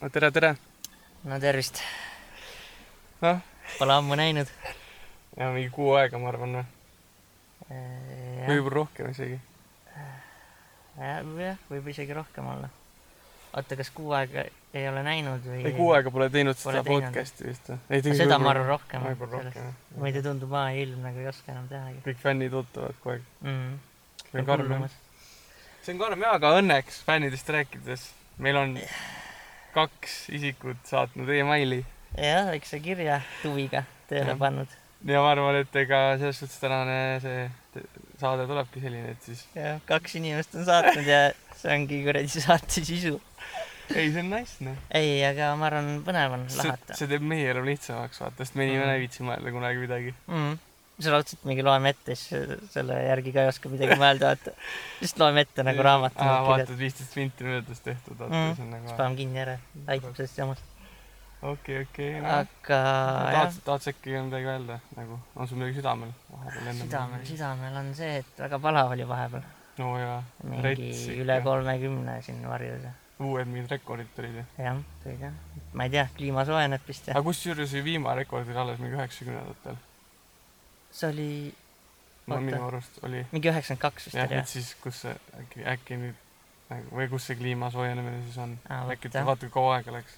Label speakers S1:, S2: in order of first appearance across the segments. S1: Ah, tere , tere .
S2: no tervist ,
S1: noh ,
S2: pole ammu näinud .
S1: ja mingi kuu aega , ma arvan , või
S2: Äh, jah ,
S1: võib-olla rohkem isegi .
S2: jah , võib isegi rohkem olla . oota , kas kuu aega ei ole näinud või ?
S1: ei , kuu aega pole teinud
S2: Pole
S1: seda
S2: teinud.
S1: podcast'i vist või ?
S2: seda ma arvan rohkem .
S1: võib-olla rohkem , jah .
S2: muidu tundub , aa , ilm nagu ei oska enam tehagi
S1: kõik fännid ootavad kogu aeg .
S2: mm. .
S1: see on karm , jah . see on karm jaa , aga õnneks fännidest rääkides meil on kaks isikut saatnud emaili
S2: jah , väikse kirja tuviga tööle
S1: Jah.
S2: pannud .
S1: ja ma arvan , et ega selles suhtes tänane see te- saade tulebki selline , et siis
S2: jah , kaks inimest on saatnud ja see ongi kuradi saate sisu .
S1: ei , see on nice , noh .
S2: ei , aga ma arvan , põnev on
S1: see
S2: lahata
S1: see teeb meie elu lihtsamaks , vaata , sest me inimene ei viitsi mõelda kunagi midagi .
S2: mm. . see raudselt mingi loeme ette , siis selle järgi ka ei oska midagi mõelda , vaata . lihtsalt loeme ette nagu raamat .
S1: aa , vaatad viisteist minti möödas tehtud , vaata
S2: Mm.
S1: mm. , see on nagu
S2: paneme kinni ära , aitab sellest jamast .
S1: okei , okei .
S2: aga jah
S1: tahad ,, tahad sa äkki midagi öelda , nagu on sul midagi südamel vahepeal enne ?
S2: südamel ,. südamel on see , et väga palav oli vahepeal .
S1: no jaa , rets
S2: mingi üle
S1: ikka .
S2: kolmekümne siin varjus .
S1: uued mingid rekordid tulid ju .
S2: jah , tulid jah . ma ei tea , kliima soojeneb vist ja
S1: aga kusjuures see viimane rekord oli alles mingi üheksakümnendatel .
S2: see oli
S1: no
S2: Oota.
S1: minu arust oli .
S2: mingi üheksakümmend kaks vist
S1: jah ,
S2: oli
S1: et
S2: jah .
S1: siis , kus see äkki , äkki nüüd nagu, või kus see kliima soojenemine siis on .
S2: Aa, vot,
S1: äkki ,
S2: jah.
S1: vaata kui kaua aega läks .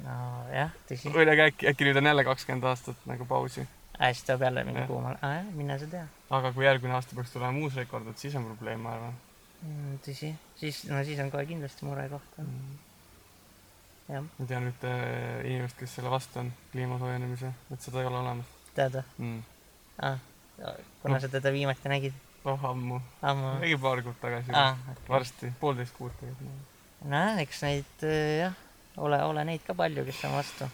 S2: nojah , tõsi .
S1: või aga äkki , äkki nüüd on jälle kakskümmend aastat nagu pausi .
S2: hästi tuleb jälle mingi
S1: Jah.
S2: kuumal , mine sa tea .
S1: aga kui järgmine aasta peaks tulema uus rekord , et siis on probleem , ma arvan
S2: Mm, tõsi , siis , no siis on kohe kindlasti murekoht .
S1: mm. .
S2: jah ,
S1: ma tean ühte äh, inimest , kes selle vastu on , kliima soojenemise , et seda ei ole olemas
S2: teada .
S1: mm. .
S2: Ah, kuna sa teda viimati nägid ?
S1: oh ammu ,
S2: ammu .
S1: mingi paar kuud tagasi ah. ,
S2: nojah ,
S1: varsti poolteist kuud tegelikult .
S2: eks neid äh, jah , ole , ole neid ka palju , kes on vastu .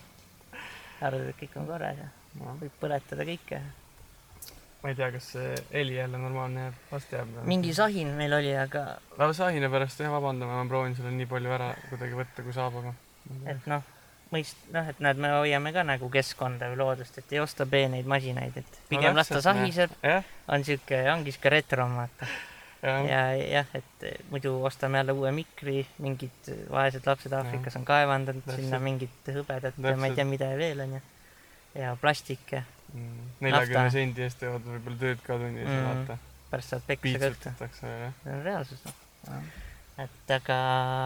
S2: arvad , et kõik on korras ja
S1: No,
S2: võib põletada kõike .
S1: noh. ma ei tea , kas see heli jälle normaalne jääb , vast jääb .
S2: mingi sahin meil oli , aga
S1: no sahine pärast jah , vabandame , ma proovin selle nii palju ära kuidagi võtta , kui saab , aga .
S2: et noh , mõist- , noh , et näed , me hoiame ka nagu keskkonda või loodust , et ei osta peeneid masinaid , et pigem las ta
S1: täpselt, jah.
S2: sahiseb ,
S1: jah ,
S2: on sihuke , ongi sihuke retro , vaata .
S1: jah ,
S2: ja jah , et eh, muidu ostame jälle uue mikri , mingid eh, vaesed lapsed Aafrikas on kaevandanud
S1: Täpselt.
S2: sinna mingit hõbedat ja ma ei
S1: Täpselt.
S2: tea , mida veel onju . ja plastikke ,
S1: Mm. neljakümne
S2: Nafta.
S1: sendi eest teevad võib-olla tööd ka tunni eest mm. ,
S2: Mm.
S1: vaata .
S2: pärast saad peksa ka õhtul .
S1: piitsutatakse veel jah .
S2: see on reaalsus , noh . et aga ,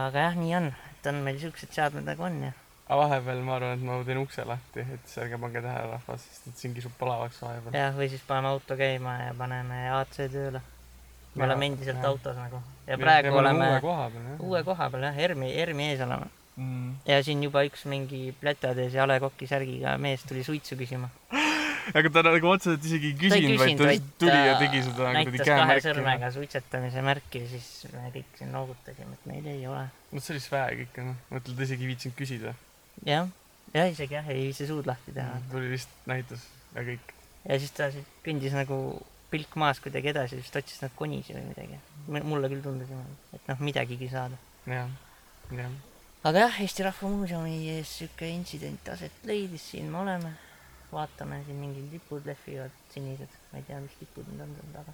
S2: aga jah , nii on , et on meil siuksed seadmed nagu on ja
S1: aga vahepeal ma arvan , et ma teen ukse lahti , et siis ärge pange tähele rahvas , sest et siin kisub palavaks vahepeal .
S2: jah , või siis paneme auto käima ja paneme AC tööle . me
S1: Jaa,
S2: oleme endiselt
S1: jah.
S2: autos nagu ja praegu oleme
S1: uue koha peal jah .
S2: uue koha peal jah , ERMi , ERMi ees oleme .
S1: mm. .
S2: ja siin juba üks mingi plätatäis jale koki särgiga mees tuli suitsu küsima .
S1: aga ta nagu otseselt isegi ei küsinud , vaid ta lihtsalt tuli ja tegi seda
S2: äh, näitas
S1: kuradi
S2: kahe
S1: käemärki .
S2: sõrmega suitsetamise märki ja siis me kõik siin noogutasime , et meil ei ole .
S1: no Noh, see oli sväeg ikka noh , mõtled ta isegi ei viitsinud küsida .
S2: jah , Mm. ja isegi jah , ei viitsi suud lahti teha .
S1: tuli lihtsalt näitas ja kõik .
S2: ja siis ta siis kõndis nagu pilk maas kuidagi edasi , vist otsis nagu konisi või midagi . mulle küll tundus niimoodi , et noh , midagigi saada .
S1: jah , jah .
S2: aga jah , Eesti Rahva Muuseumi ees sihuke intsident aset leidis , siin me oleme . vaatame siin mingid lipud lehvivad , sinised , ma ei tea , mis lipud need on seal taga .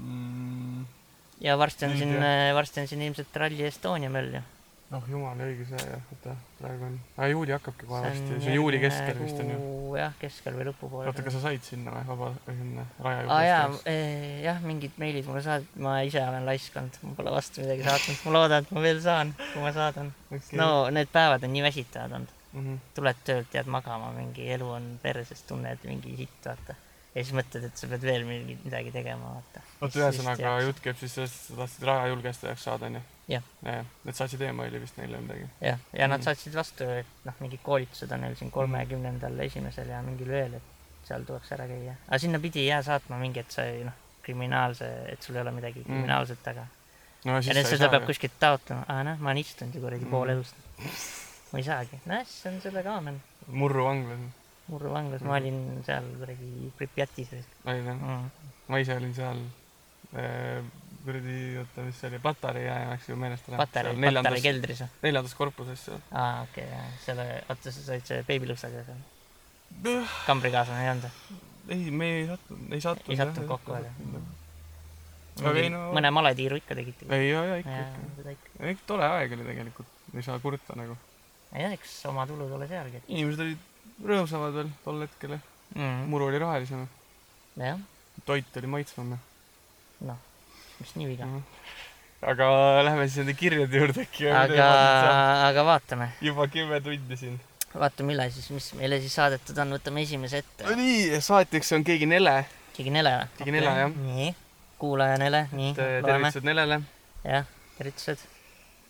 S1: Mm.
S2: ja varsti on
S1: Ei
S2: siin
S1: tea. ,
S2: varsti on siin ilmselt Rally Estonia möll ju .
S1: noh , jumala õige see jah , oota , praegu on , aa juuli hakkabki kohe varsti , see on juuli keskel vist on ju .
S2: ju . jah , keskel või lõpupoole .
S1: oota , kas sa said sinna või , vaba , sinna raja
S2: aa jaa eh,
S1: juurde ?,
S2: jah , mingid meilid mulle saadetud , ma ise olen laiskanud , ma pole vastu midagi saatnud , ma loodan , et ma veel saan , kui ma saadan . no need päevad on nii väsitavad olnud ,
S1: mm .
S2: tuled töölt , jääd magama , mingi elu on perses , tunned mingi sitt , vaata . ja siis mõtled , et sa pead veel mingi midagi tegema , vaata .
S1: oota , ühesõnaga . jutt käib siis sellest , et sa tahtsid raja julgestajaks saada , onju ?
S2: Jah. .
S1: et saatsid emaili vist neile midagi ?
S2: jah , ja nad
S1: Mm.
S2: saatsid vastu , et noh , mingid koolitused on neil siin kolmekümnendal esimesel ja mingil veel , et seal tuleks ära käia . aga sinna pidi jah saatma mingi , et sa ei noh , kriminaalse , et sul ei ole midagi
S1: Mm.
S2: kriminaalset taga .
S1: no
S2: ja nüüd seda peab . kuskilt taotlema , aa noh , ma olen istunud ju kuradi pool
S1: Mm.
S2: elust . ma ei saagi , noh , siis on sellega aamen .
S1: murru vanglas
S2: Murru vanglas ma olin seal kuradi Pripjatis või
S1: olin Mm. jah ,
S2: mm. .
S1: ma ise olin seal äh, kuradi , oota , mis see oli , Patarei jää läks ju meelest ära .
S2: Patarei , Patarei
S1: neljandas ,
S2: keldris või ?
S1: neljandas korpuses seal .
S2: aa , okei okay, , selle , oota , sa said selle beebilõksaga seal ? kambrikaaslane ei olnud või ?
S1: ei , me ei sattunud , ei sattunud .
S2: Ei sattunud kokku veel, jah? ?
S1: aga ei no ,
S2: mõne maletiiru ikka tegite ?
S1: ei , ja , ja ikka ,
S2: jaa
S1: ikka ,.
S2: seda ikka .
S1: ikka tore aeg oli tegelikult , ei saa kurta nagu .
S2: ei tea , eks oma tulud ole sealgi et... .
S1: inimesed olid rõõmsamad veel tol hetkel ,
S2: Mm.
S1: muru oli rohelisem ,
S2: jah ,
S1: toit oli maitsvam .
S2: noh , mis nii viga .
S1: aga lähme siis nende kirjade juurde äkki .
S2: aga , aga vaatame ,
S1: juba kümme tundi siin .
S2: vaatame üle siis , mis meile siis saadetud on , võtame esimese ette .
S1: Nonii , saatjaks on keegi Nele .
S2: keegi Nele või ?
S1: Keegi Nele, jah.
S2: nii , kuulaja Nele , nii , loeme ,
S1: eh, tervitused Nelele .
S2: jah , tervitused .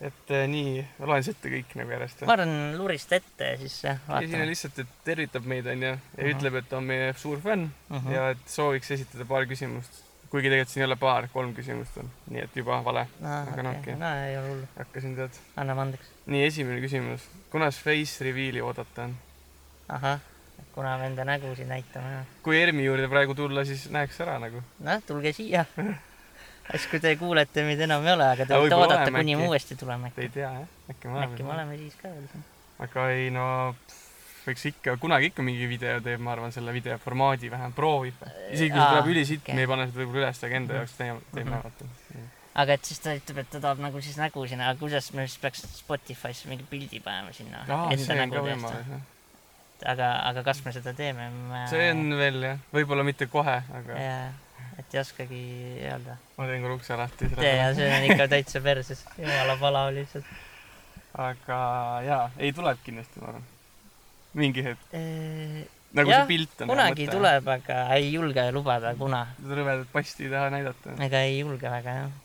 S1: et eh, nii , ma loen siis ette kõik nagu järjest .
S2: ma arvan , lurist ette ja siis jah,
S1: esimene
S2: vaatame .
S1: lihtsalt , et tervitab meid , onju , ja
S2: Mhm.
S1: ütleb , et on meie suur fänn
S2: Mhm.
S1: ja et sooviks esitada paar küsimust . kuigi tegelikult siin ei ole paar , kolm küsimust on , nii et juba vale . aga
S2: no
S1: no
S2: okei
S1: okei. ,
S2: no ei ole hullu ,
S1: hakkasin tead .
S2: anname andeks .
S1: nii , esimene küsimus . kunas face reveal'i oodata on ?
S2: ahah , kuna me enda nägusid näitame jah .
S1: kui ERMi juurde praegu tulla , siis näeks ära nagu .
S2: noh , tulge siia . siis , kui te kuulete meid enam ei ole , aga te
S1: Aga
S2: võite
S1: võib-olla
S2: oodata ,
S1: oleme
S2: kuni me
S1: äkki.
S2: uuesti tuleme
S1: Te ei
S2: äkki .
S1: tea jah ? äkki me
S2: äkki me
S1: oleme .
S2: oleme siis ka veel siin .
S1: aga ei no , võiks ikka , kunagi ikka mingi video teeb , ma arvan , selle video formaadi vähem proovib . isegi kui see
S2: Aa,
S1: tuleb ülisitt ,
S2: okei.
S1: me ei pane seda võib-olla üles , aga enda jaoks teeme , teeme
S2: Mhm.
S1: vaata .
S2: aga et siis ta ütleb , et ta tahab nagu siis nägu sinna , aga kuidas me siis peaks Spotify'sse mingi pildi panema sinna
S1: aa ,
S2: enda
S1: see on
S2: nägu
S1: ka
S2: tõesta ?
S1: võimalus jah .
S2: aga , aga kas me seda teeme ?
S1: see on . veel jah , võib-olla mitte kohe , aga ja.
S2: jaa , et ei oskagi öelda .
S1: ma teen korra ukse lahti .
S2: ja see on ikka täitsa perses , jumala palav lihtsalt .
S1: aga jaa , ei tuleb kindlasti , ma arvan . mingi hetk , nagu
S2: Jah,
S1: see pilt on .
S2: kunagi . tuleb , aga ei julge lubada , kuna .
S1: rõvedat pasti ei taha näidata . Mm.
S2: ega ei julge väga jah .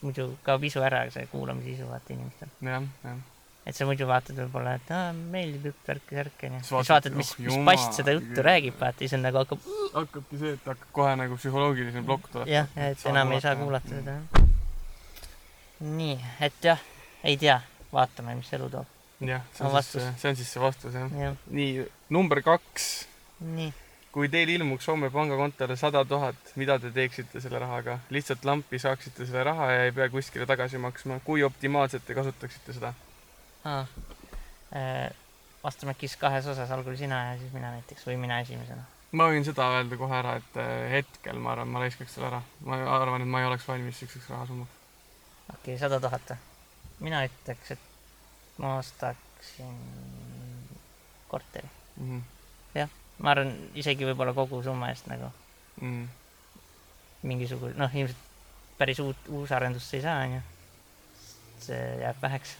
S2: muidu kaob isu ära see kuulamise isu vaata inimestel .
S1: jah , jah .
S2: et sa muidu vaatad võib-olla , et aa , meeldib jutt , värk ja särk onju .
S1: Siis
S2: siis
S1: vaatad,
S2: vaatad , mis ,
S1: oh
S2: mis
S1: jumal,
S2: past seda juttu
S1: küll.
S2: räägib , vaata , siis on nagu hakkab
S1: hakkabki see , et hakkab kohe nagu psühholoogiline plokk tuleb .
S2: jah , et enam ei saa kuulata seda jah . nii , et jah , ei tea , vaatame , mis elu toob .
S1: jah , see
S2: On
S1: on siis
S2: vastus.
S1: see , see on siis see vastus jah .
S2: jah ,
S1: nii , number kaks .
S2: nii ,
S1: kui teil ilmuks homme pangakontole sada tuhat , mida te teeksite selle rahaga ? lihtsalt lampi saaksite selle raha ja ei pea kuskile tagasi maksma . kui optimaalselt te kasutaksite seda ?
S2: aa . vastame äkki siis kahes osas , algul sina ja siis mina näiteks või mina esimesena .
S1: ma võin seda öelda kohe ära , et äh, hetkel ma arvan , ma raiskaks selle ära . ma arvan , et ma ei oleks valmis siukseks rahasummaks .
S2: okei okay, , sada tuhat . mina ütleks , et ma ostaksin korteri .
S1: Mm
S2: ma arvan , isegi võib-olla kogu summa eest nagu
S1: -hmm.
S2: mingisugune , noh , ilmselt päris uut , uusarendust ei saa , onju . see jääb väheks .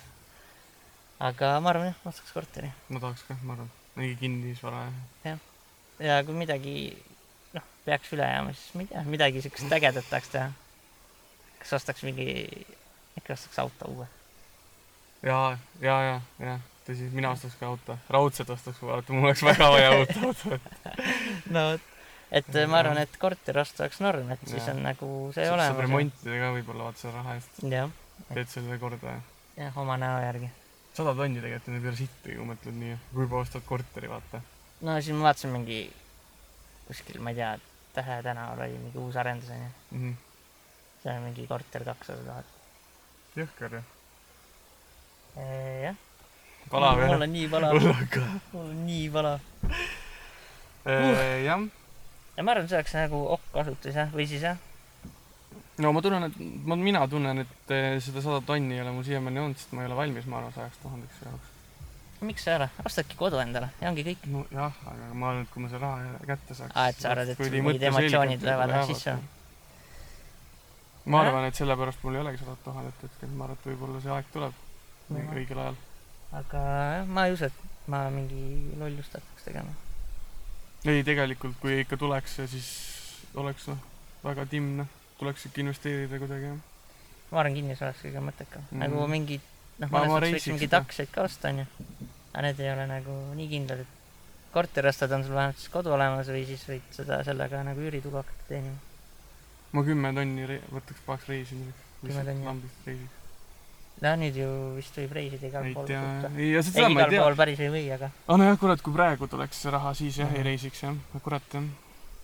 S2: aga ma arvan , jah , ostaks korteri .
S1: ma tahaks ka , ma arvan . mingi kinnisvara ja .
S2: ja kui midagi , noh , peaks üle jääma , siis ma ei tea , midagi siukest ägedat tahaks teha . kas ostaks mingi , äkki ostaks auto uue .
S1: ja , ja , ja , ja tõsi , mina ostaks ka auto . raudselt ostaks ka auto , mul oleks väga vaja uut autot .
S2: no , et äh, ma arvan , et korteri osta oleks norm , et siis
S1: Jaa.
S2: on nagu see
S1: saab
S2: olemas .
S1: remontida ka võib-olla vaata selle raha eest .
S2: jah ,
S1: teed selle korda ja .
S2: jah , oma näo järgi .
S1: sada tonni tegelikult on ju päris hitt , kui mõtled nii . kui juba ostad korteri , vaata .
S2: no siin ma vaatasin mingi kuskil , ma ei tea , Tähe tänaval oli mingi uus arendus onju .
S1: Mhm.
S2: see on mingi korter kakssada tuhat .
S1: jõhker ju .
S2: jah .
S1: palav
S2: mul
S1: jah .
S2: on nii palav ,
S1: mul on ka .
S2: mul on nii palav .
S1: Äh, jah
S2: ja ma arvan , see oleks nagu okkasutus jah , või siis jah ,
S1: no ma tunnen , et ma , mina tunnen , et eh, seda sada tonni ei ole mul siiamaani olnud , sest ma ei ole valmis , ma arvan , sajaks tuhandeks jaoks .
S2: miks sa ei ole , ostadki kodu endale ja ongi kõik .
S1: nojah , aga ma arvan , et kui ma selle raha jälle kätte saaks .
S2: Aa, Ah, et sa arvad, et sul mingid emotsioonid lähevad sisse? ?
S1: ma
S2: Nojah.
S1: arvan , et sellepärast mul ei olegi sadat tuhandet hetkel , ma arvan , et võib-olla see aeg tuleb
S2: Nojah.
S1: õigel ajal .
S2: aga jah, ma ei usu , et ma mingi lollust hakkaks tegema .
S1: ei , tegelikult kui ikka tuleks , siis oleks noh , väga timm noh , tuleks ikka investeerida kuidagi jah .
S2: ma arvan , kinnisvara oleks kõige mõttekam mm. ,
S1: Mm.
S2: nagu mingi noh ,
S1: Ma-
S2: mõnes
S1: ma
S2: mõttes võiks
S1: reisiks
S2: mingeid
S1: seda.
S2: aktsiaid ka osta onju , aga need ei ole nagu nii kindlad , et korteri ostad , on sul vähemalt siis kodu olemas või siis võid seda sellega nagu üüritulu hakata teenima .
S1: ma kümme tonni rei- võtaks pahaks reisimiseks .
S2: Kümme tonni, jah.
S1: lambist reisiks .
S2: no nüüd ju vist võib reisida igal
S1: ei
S2: pool .
S1: tea , ei ,
S2: ei ,
S1: seda ma
S2: igal
S1: ei tea .
S2: pool päris ei või , aga
S1: aga nojah , kurat , kui praegu tuleks see raha , siis jah , ei
S2: Mhm.
S1: reisiks jah , kurat jah .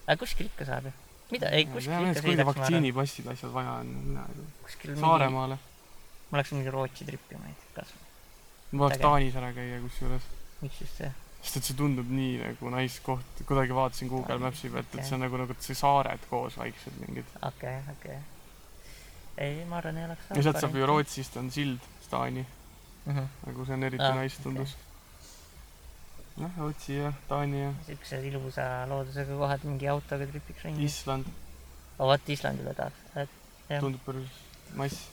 S2: aga kuskil ikka saab ju . mida , ei kuskil ikka
S1: kui need
S2: sõidaks , ma arvan .
S1: vaktsiinipassid asjad vaja on , mina ei tea .
S2: kuskil mingi ,
S1: Saaremaale ,
S2: ma läksin mingi Rootsi tripi , ma ei tea , kas ,
S1: ma tahaks
S2: Äge.
S1: Taanis ära käia kusjuures ,
S2: miks just see ,
S1: sest et see tundub nii nagu nice koht , kuidagi vaatasin Google Maps'i pealt , et
S2: Okei.
S1: see on nagu , nagu et see saared koos vaikselt mingid .
S2: okei , okei . ei , ma arvan , ei oleks .
S1: ja sealt saab ju . Rootsist on sild Taani ,
S2: Mhm.
S1: nagu see on eriti
S2: Aa,
S1: ah, nice tundus okay. . noh , Rootsi ja Taani ja
S2: siukse ilusa loodusega kohad , mingi autoga tripiks ringi .
S1: Island
S2: aga vot Islandile tahaks , et Mm. Jah.
S1: tundub päris nice .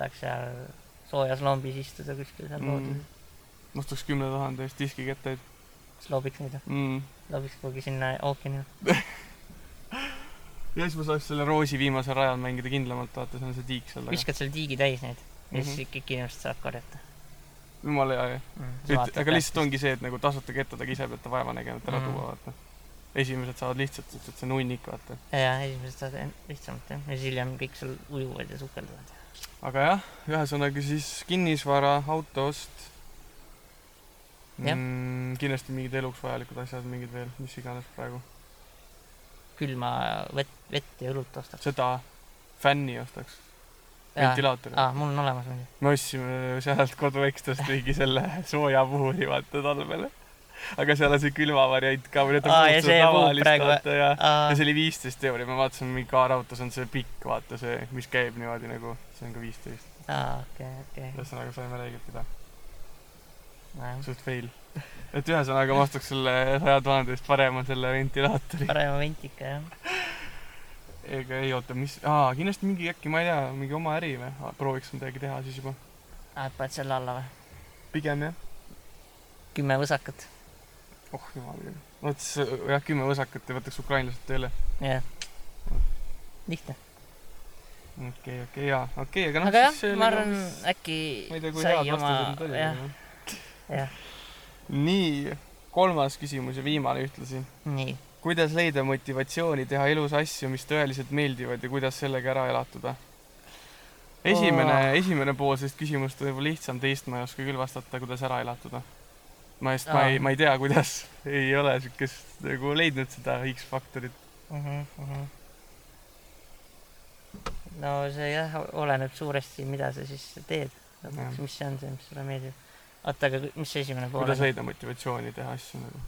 S2: tahaks seal soojas lombis istuda kuskil seal
S1: Mm.
S2: mm. looduses ,
S1: ostaks kümne tuhande eest diski kätte , et
S2: siis loobiks neid ,
S1: mm.
S2: loobiks kuhugi sinna ookeani .
S1: ja siis ma saaks selle roosi viimasel rajal mängida kindlamalt , vaata , seal on see tiik seal taga .
S2: viskad seal tiigi täis neid ja
S1: Mhm.
S2: siis kõik inimesed saavad korjata
S1: jumala hea , jah .
S2: mm. .
S1: aga lihtsalt . ongi see , et nagu tasuta ketta taga ise peate vaeva nägema , et ära
S2: Mm.
S1: mm. tuua , vaata . esimesed saavad lihtsalt , sest et see on hunnik , vaata .
S2: jaa , esimesed saavad en- lihtsamalt jah , ja siis hiljem kõik seal ujuvad ja sukelduvad .
S1: aga jah , ühesõnaga siis kinnisvara , autoost
S2: Jah.
S1: mm, . kindlasti mingid eluks vajalikud asjad , mingid veel , mis iganes praegu .
S2: külma vett , vett ja õlut ostad .
S1: seda fänni ostaks ,
S2: aa ,
S1: ventilaatori .
S2: mul on olemas muidugi .
S1: me ostsime sealt koduekstrast mingi selle sooja puhuri vaata talvele . aga seal on see külmavariant ka või need on
S2: Aa, ja
S1: puhtalt
S2: see puhub
S1: tavalist
S2: praegu,
S1: vaata ja ja
S2: aa ,
S1: see oli viisteist euri , me vaatasime mingi kaarautos on see pikk , vaata see , mis käib niimoodi nagu , see on ka viisteist .
S2: okei , okei .
S1: ühesõnaga saime räigelt pidada , suht fail . et ühesõnaga ma ostaks selle saja tuhande eest parema selle ventilaatori .
S2: parema ventika jah .
S1: ega ei oota , mis , aa kindlasti mingi äkki , ma ei tea , mingi oma äri või , prooviks midagi teha siis juba .
S2: aa , et paned selle alla või ?
S1: pigem jah .
S2: kümme võsakat .
S1: oh jumal küll . vot siis äh, jah , kümme võsakat ja võtaks ukrainlased tööle .
S2: jah . lihtne .
S1: okei okay, , okei okay, , jaa , okei okay, , aga noh .
S2: aga jah , ma arvan , äkki
S1: ma ei tea , kui
S2: sai
S1: head
S2: oma
S1: vastused need , olid ,
S2: jah ,
S1: aga noh .
S2: jah ,
S1: nii , kolmas küsimus ja viimane ühtlasi .
S2: nii .
S1: kuidas leida motivatsiooni teha elus asju , mis tõeliselt meeldivad ja kuidas sellega ära elatuda ? esimene
S2: Oh.
S1: oh. , esimene pool sellest küsimust on juba lihtsam , teist ma ei oska küll vastata , kuidas ära elatuda . ma just , ma
S2: Aa.
S1: ei , ma ei tea , kuidas , ei ole siukest nagu leidnud seda X-faktorit .
S2: Mhm, no see jah , oleneb suuresti , mida sa siis teed . lõpuks , mis see on see , mis sulle meeldib . oota , aga kui- mis see esimene pool
S1: kuidas
S2: on ?
S1: leida motivatsiooni teha asju nagu ,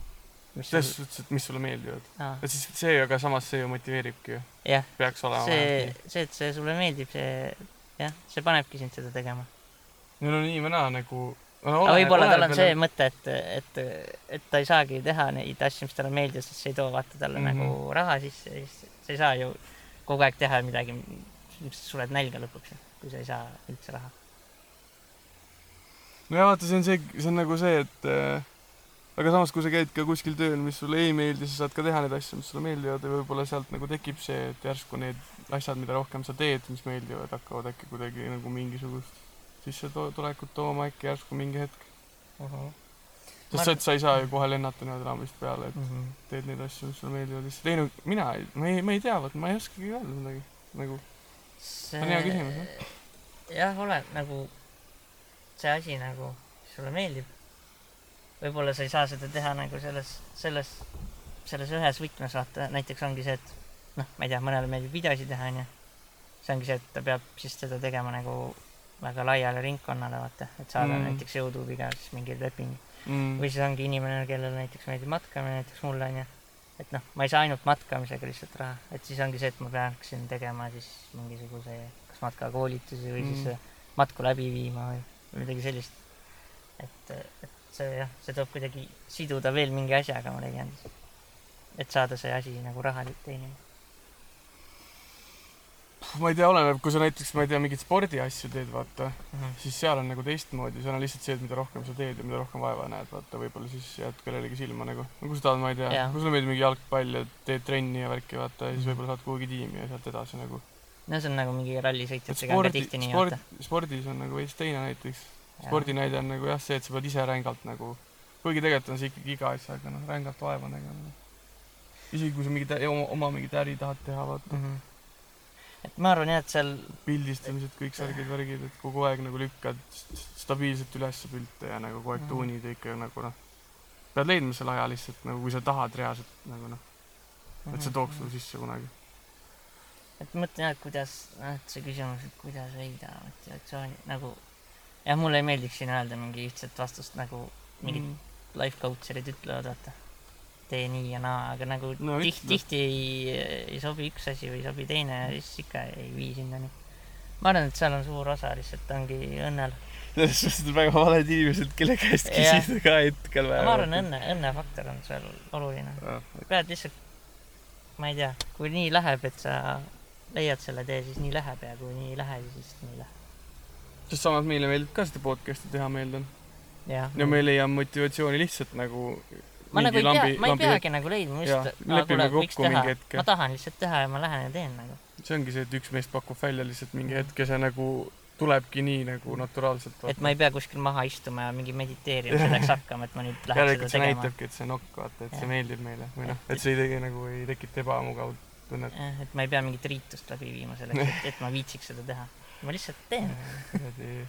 S2: mis
S1: selles
S2: see
S1: suhtes , et mis sulle meeldivad .
S2: aa,
S1: et siis see , aga samas see ju motiveeribki ju ,
S2: jah ,
S1: peaks olema .
S2: see , see , et see sulle meeldib , see jah , see panebki sind seda tegema .
S1: no nii või naa nagu .
S2: aga võib-olla tal on see mõte , et , et , et ta ei saagi teha neid asju , mis talle meeldivad , sest see ei too vaata talle
S1: Mhm.
S2: mm -hmm. nagu raha sisse ja siis sa ei saa ju kogu aeg teha midagi , mis suled nälga lõpuks , kui sa ei saa üldse raha .
S1: nojah , vaata , see on see , see on nagu see , et äh, aga samas , kui sa käid ka kuskil tööl , mis sulle ei meeldi , sa saad ka teha neid asju , mis sulle meeldivad ja võib-olla sealt nagu tekib see , et järsku need asjad , mida rohkem sa teed , mis meeldivad , hakkavad äkki kuidagi nagu mingisugust sissetulekut tooma äkki järsku mingi hetk .
S2: Uh -huh. Ma-
S1: sest see , et sa ei saa ju kohe lennata niimoodi raamist peale ,
S2: mm -hmm.
S1: et teed neid asju , mis sulle meeldivad , siis ei no mina , ma ei , ma ei tea , vot ma ei oskagi öelda midagi nagu .
S2: see
S1: on hea küsimus, jah.
S2: jah , ole nagu see asi nagu mis sulle meeldib . võib-olla sa ei saa seda teha nagu selles , selles , selles ühes võtmes vaata , näiteks ongi see , et noh , ma ei tea , mõnele meeldib videosid teha , onju . see ongi see , et ta peab siis seda tegema nagu väga laiale ringkonnale , vaata , et saada
S1: Mm.
S2: mm. näiteks Youtube'iga siis mingi leping .
S1: Mm.
S2: või siis ongi inimene , kellele näiteks meeldib matkamine , näiteks mulle onju , et noh , ma ei saa ainult matkamisega lihtsalt raha , et siis ongi see , et ma peaksin tegema siis mingisuguse kas matkakoolitusi või mm.
S1: Mm.
S2: siis matku läbi viima või või midagi sellist . et , et see jah , see tuleb kuidagi siduda veel mingi asjaga , ma leian . et saada see asi nagu raha teenima .
S1: ma ei tea , oleneb , kui sa näiteks , ma ei tea , mingeid spordiasju teed , vaata siis seal on nagu teistmoodi , seal on lihtsalt see , et mida rohkem sa teed ja mida rohkem vaeva näed , vaata võib-olla siis jääd kellelegi silma nagu . no kui sa tahad , ma ei tea
S2: Jaa. ,
S1: kui sulle meeldib mingi jalgpall ja teed trenni ja värki , vaata , ja siis võib-olla saad kuhugi tiimi ja sealt edasi nagu .
S2: no see on nagu mingi rallisõitjatega on ka
S1: spordi ,
S2: tihti nii ,
S1: spord
S2: vaata .,
S1: spordis on nagu veits teine näiteks .
S2: Jaa.
S1: spordinäide on nagu jah , see , et sa pead ise rängalt nagu , kuigi tegelikult on see ikkagi iga asjaga noh , rängalt vaeva nägema . isegi kui sa mingit ä- oma, oma mingit äri tahad teha , vaata ,
S2: Mhm.
S1: noh,
S2: et ma arvan jah , et seal
S1: pildistamised , kõik särgid , värgid , et kogu aeg nagu lükkad st- stabiilselt üles pilte ja nagu kogu aeg
S2: Mhm.
S1: tuunid ja ikka nagu noh , pead leidma selle aja lihtsalt nagu , kui sa tahad reaalselt nagu noh , et see tooks
S3: Mhm.
S1: sulle sisse kunagi .
S2: et mõtlen jah , et kuidas , noh , et see küsimus , et kuidas leida motivatsiooni nagu jah , mulle ei meeldiks siin öelda mingi ühtset vastust nagu mingid mm. life coach'id ütlevad , vaata . tee nii ja naa , aga nagu
S1: No
S2: no, tihti ,
S1: ütle.
S2: tihti ei, ei sobi üks asi või ei sobi teine ja siis ikka ei vii sinnani . ma arvan , et seal on suur osa lihtsalt ongi õnnel ,
S3: selles suhtes on väga valed inimesed , kelle käest
S2: Jah.
S3: küsida ka hetkel
S2: ma arvan , õnne , õnnefaktor on seal oluline . pead lihtsalt , ma ei tea , kui nii läheb , et sa leiad selle tee , siis nii läheb ja kui nii ei lähe , siis nii läheb .
S1: sest samas meile meeldib ka seda podcast'i teha , ma eeldan .
S2: jah .
S1: ja me leiame motivatsiooni lihtsalt nagu .
S2: ma nagu ei pea , ma ei
S1: peagi .
S2: peagi nagu leidma ,
S1: Jaa, lepime kokku mingi
S2: teha
S1: hetke. ,
S2: ma tahan lihtsalt teha ja ma lähen ja teen nagu .
S1: see ongi see , et üks mees pakub välja lihtsalt mingi hetk ja see nagu tulebki nii nagu naturaalselt .
S2: et ma ei pea kuskil maha istuma ja mingi mediteerima
S1: Jah.
S2: selleks hakkama , et ma nüüd lähen seda
S1: järelikult see
S2: tegema .
S1: näitabki , et see nokk , vaata , et see
S2: Jah.
S1: meeldib meile või noh ,
S2: Jah.
S1: et see ei tegi nagu , ei tekita ebamugavat tunnet .
S2: et ma ei pea mingit riitust läbi viima selleks , et , et ma viitsiks seda teha . ma lihtsalt teen .
S1: Äh,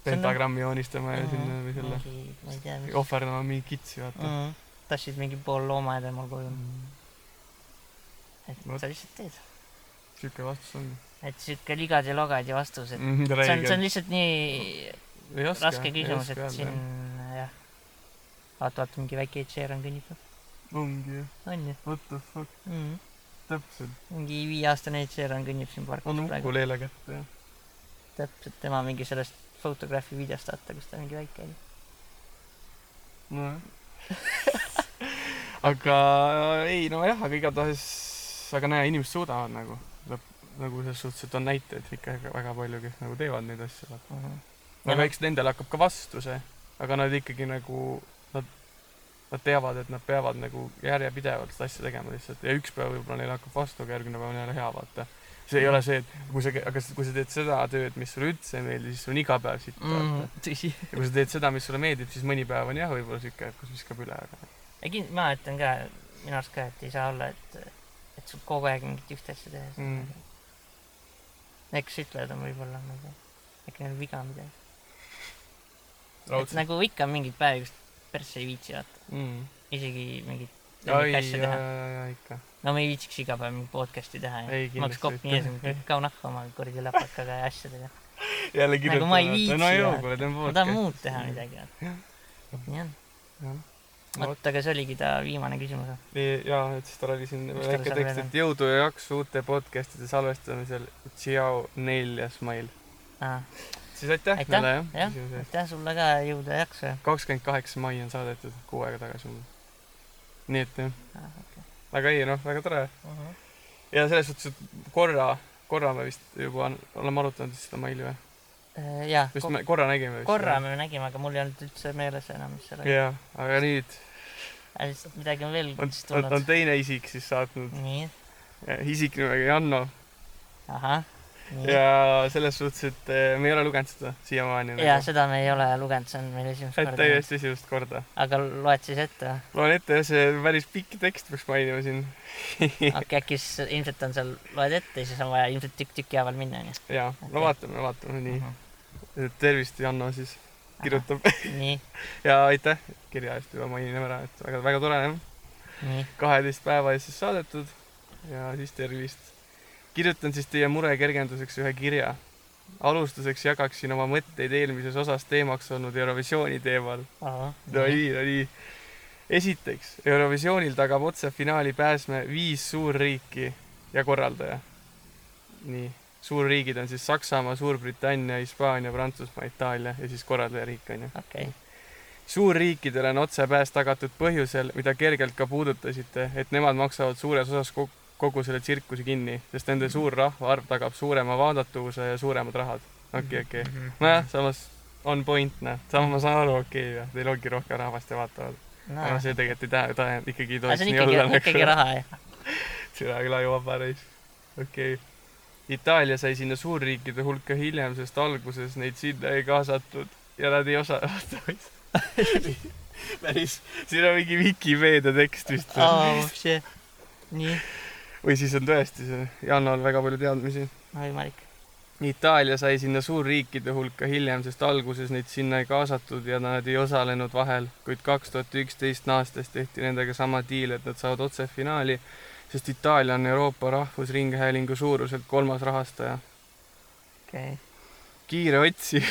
S1: pentagrammi joonistama ja sinna või selle
S2: mingi , ma ei tea , mis
S1: ohverdama mingi kitsi , vaata .
S2: mm, . tassid mingi pool loomaaeda oma koju . et
S1: Vot.
S2: sa lihtsalt teed .
S1: sihuke vastus on .
S2: et sihuke ligad ja logad ja
S1: Mm,
S2: vastused . see on , see on lihtsalt nii raske küsimus , et siin . jah . vaata , vaata mingi väike Ed Sheeran kõnnib .
S1: ongi jah ,
S2: on ju
S1: what the fuck ,
S2: mm. ?
S1: täpselt .
S2: mingi viieaastane Ed Sheeran kõnnib siin parkis
S1: anna
S2: praegu .
S1: ukuleele kätte ja .
S2: täpselt tema mingi sellest Photography videost vaata , kus ta mingi väike oli .
S1: nojah . aga ei , nojah , aga igatahes , aga näe , inimesed suudavad nagu , nagu selles suhtes , et on näiteid ikka väga- väga palju , kes nagu teevad neid asju , vaata .
S2: Ja
S1: aga
S2: nad-
S1: eks nendel hakkab ka vastu see , aga nad ikkagi nagu , nad , nad teavad , et nad peavad nagu järjepidevalt seda asja tegema lihtsalt ja üks päev võib-olla neil hakkab vastu , aga järgmine päev on jälle hea , vaata . see ei ole see , et kui sa , aga s- kui sa teed seda tööd , mis sulle üldse ei meeldi , siis sul on iga päev siit
S2: Mhm.
S1: mm. .
S2: tõsi .
S1: ja kui sa teed seda , mis sulle meeldib , siis mõni päev on jah , võib-olla sihuke , kus viskab üle , aga
S2: Egi- , ma ütlen ka , minu arust ka , et ei saa olla , et , et sul kogu aeg mingit ühte asja tehes
S1: Mm.
S2: mm. . eks ütlejad on võib-olla , ma ei tea , äkki neil on viga midagi . et
S1: raudselt .
S2: nagu ikka on mingeid päevi , kus persse ei viitsi vaata ,
S1: Mm.
S2: isegi mingit
S1: oi , ja ,
S2: lemmikasja
S1: ja ,
S2: teha .
S1: ja ikka .
S2: no me ei viitsiks iga päev mingit podcast'i teha
S1: Ei,
S2: ja ma oleks
S1: kindlasti
S2: kopp nii
S1: ei.
S2: ees , kao nahku oma kuradi läpakaga ja asjadega .
S1: jälle
S2: Nagu ma ei
S1: kirjutavad,
S2: viitsi
S1: no joo ,
S2: vaata.
S1: kuule , teeme
S2: ma tahan muud teha . midagi , nii on .
S1: No
S2: vot , aga see oligi ta viimane küsimus .
S1: Nii, jaa , et siis tal oli siin
S2: Mis tal
S1: väike
S2: seal
S1: tekst ,
S2: veel on?
S1: et jõudu ja jaksu uute podcast'ide salvestamisel . Tšiau , neljas mail .
S2: aitäh
S1: siis aitäh
S2: Aitäh,
S1: meile
S2: jah.
S1: jah , küsimuse eest .
S2: sulle ka , jõudu ja jaksu .
S1: kakskümmend kaheksa mai on saadetud , kuu aega tagasi umbes . nii et jah ,
S2: Ah,
S1: aga ei noh , väga tore . ja selles suhtes , et korra , korra me vist juba on- oleme arutanud vist seda maili või ?
S2: jah ,
S1: vist me korra nägime vist .
S2: Äh, korra . me nägime , aga mul ei olnud üldse meeles enam , mis seal oli .
S1: jaa , aga nüüd
S2: lihtsalt midagi on veel
S1: on
S2: siis ,
S1: on, on
S2: tulnud .
S1: teine isik siis saatnud ,
S2: nii ,
S1: isik nimega Janno
S2: ahah , nii .
S1: ja selles suhtes , et eh, me ei ole lugenud seda siiamaani .
S2: ja seda me ei ole lugenud , see on meil esimest
S1: et
S2: korda .
S1: täiesti esimest korda .
S2: aga loed siis ette või ?
S1: loen ette , see on päris pikk tekst peaks mainima siin .
S2: okei , äkki siis ilmselt on seal , loed ette ja siis on vaja ilmselt tükk-tüki haaval minna , onju .
S1: jaa , no
S2: Okei.
S1: vaatame , vaatame , nii . tervist , Janno siis kirjutab
S2: nii ,
S1: ja aitäh kirja eest juba mainime ära , et väga , väga tore jah .
S2: nii ,
S1: kaheteist päeva eest siis saadetud ja siis tervist . kirjutan siis teie mure kergenduseks ühe kirja . alustuseks jagaksin oma mõtteid eelmises osas teemaks olnud Eurovisiooni teemal . no
S2: ahah .
S1: nii , no nii . esiteks , Eurovisioonil tagab otse finaali pääsme viis suurriiki ja korraldaja . nii , suurriigid on siis Saksamaa , Suurbritannia , Hispaania , Prantsusmaa , Itaalia ja siis korraldajariik on ju .
S2: okei ,
S1: suurriikidele on otsepääs tagatud põhjusel , mida kergelt ka puudutasite , et nemad maksavad suures osas ko- kogu selle tsirkuse kinni , sest nende
S2: Mhm.
S1: suur rahvaarv tagab suurema vaadatavuse ja suuremad rahad .
S2: Mhm.
S1: okei , okei . nojah , samas on point , noh , samas ma saan aru , okei okay, , teil ongi rohkem rahvast ja vaatavad .
S2: no
S1: aga see tegelikult ei tähenda , ta ikkagi ei
S2: aga
S1: tohiks
S2: see on
S1: nii
S2: ikkagi
S1: olla ,,
S2: ikkagi
S1: nagu
S2: raha , jah .
S1: sina küll aju vaba reis . okei okay. . Itaalia sai sinna suurriikide hulka hiljem , sest alguses neid sinna ei kaasatud ja nad ei osanud . päris , siin on mingi Vikipeedia tekst vist või oh. ?
S2: oh , see , nii ,
S1: või siis on tõesti see , Jannol väga palju teadmisi .
S2: no võimalik .
S1: Itaalia sai sinna suurriikide hulka hiljem , sest alguses neid sinna ei kaasatud ja nad ei osalenud vahel , kuid kaks tuhat üksteist naastes tehti nendega sama diil , et nad saavad otse finaali , sest Itaalia on Euroopa Rahvusringhäälingu suuruselt kolmas rahastaja .
S2: okei ,
S1: kiire otsi ,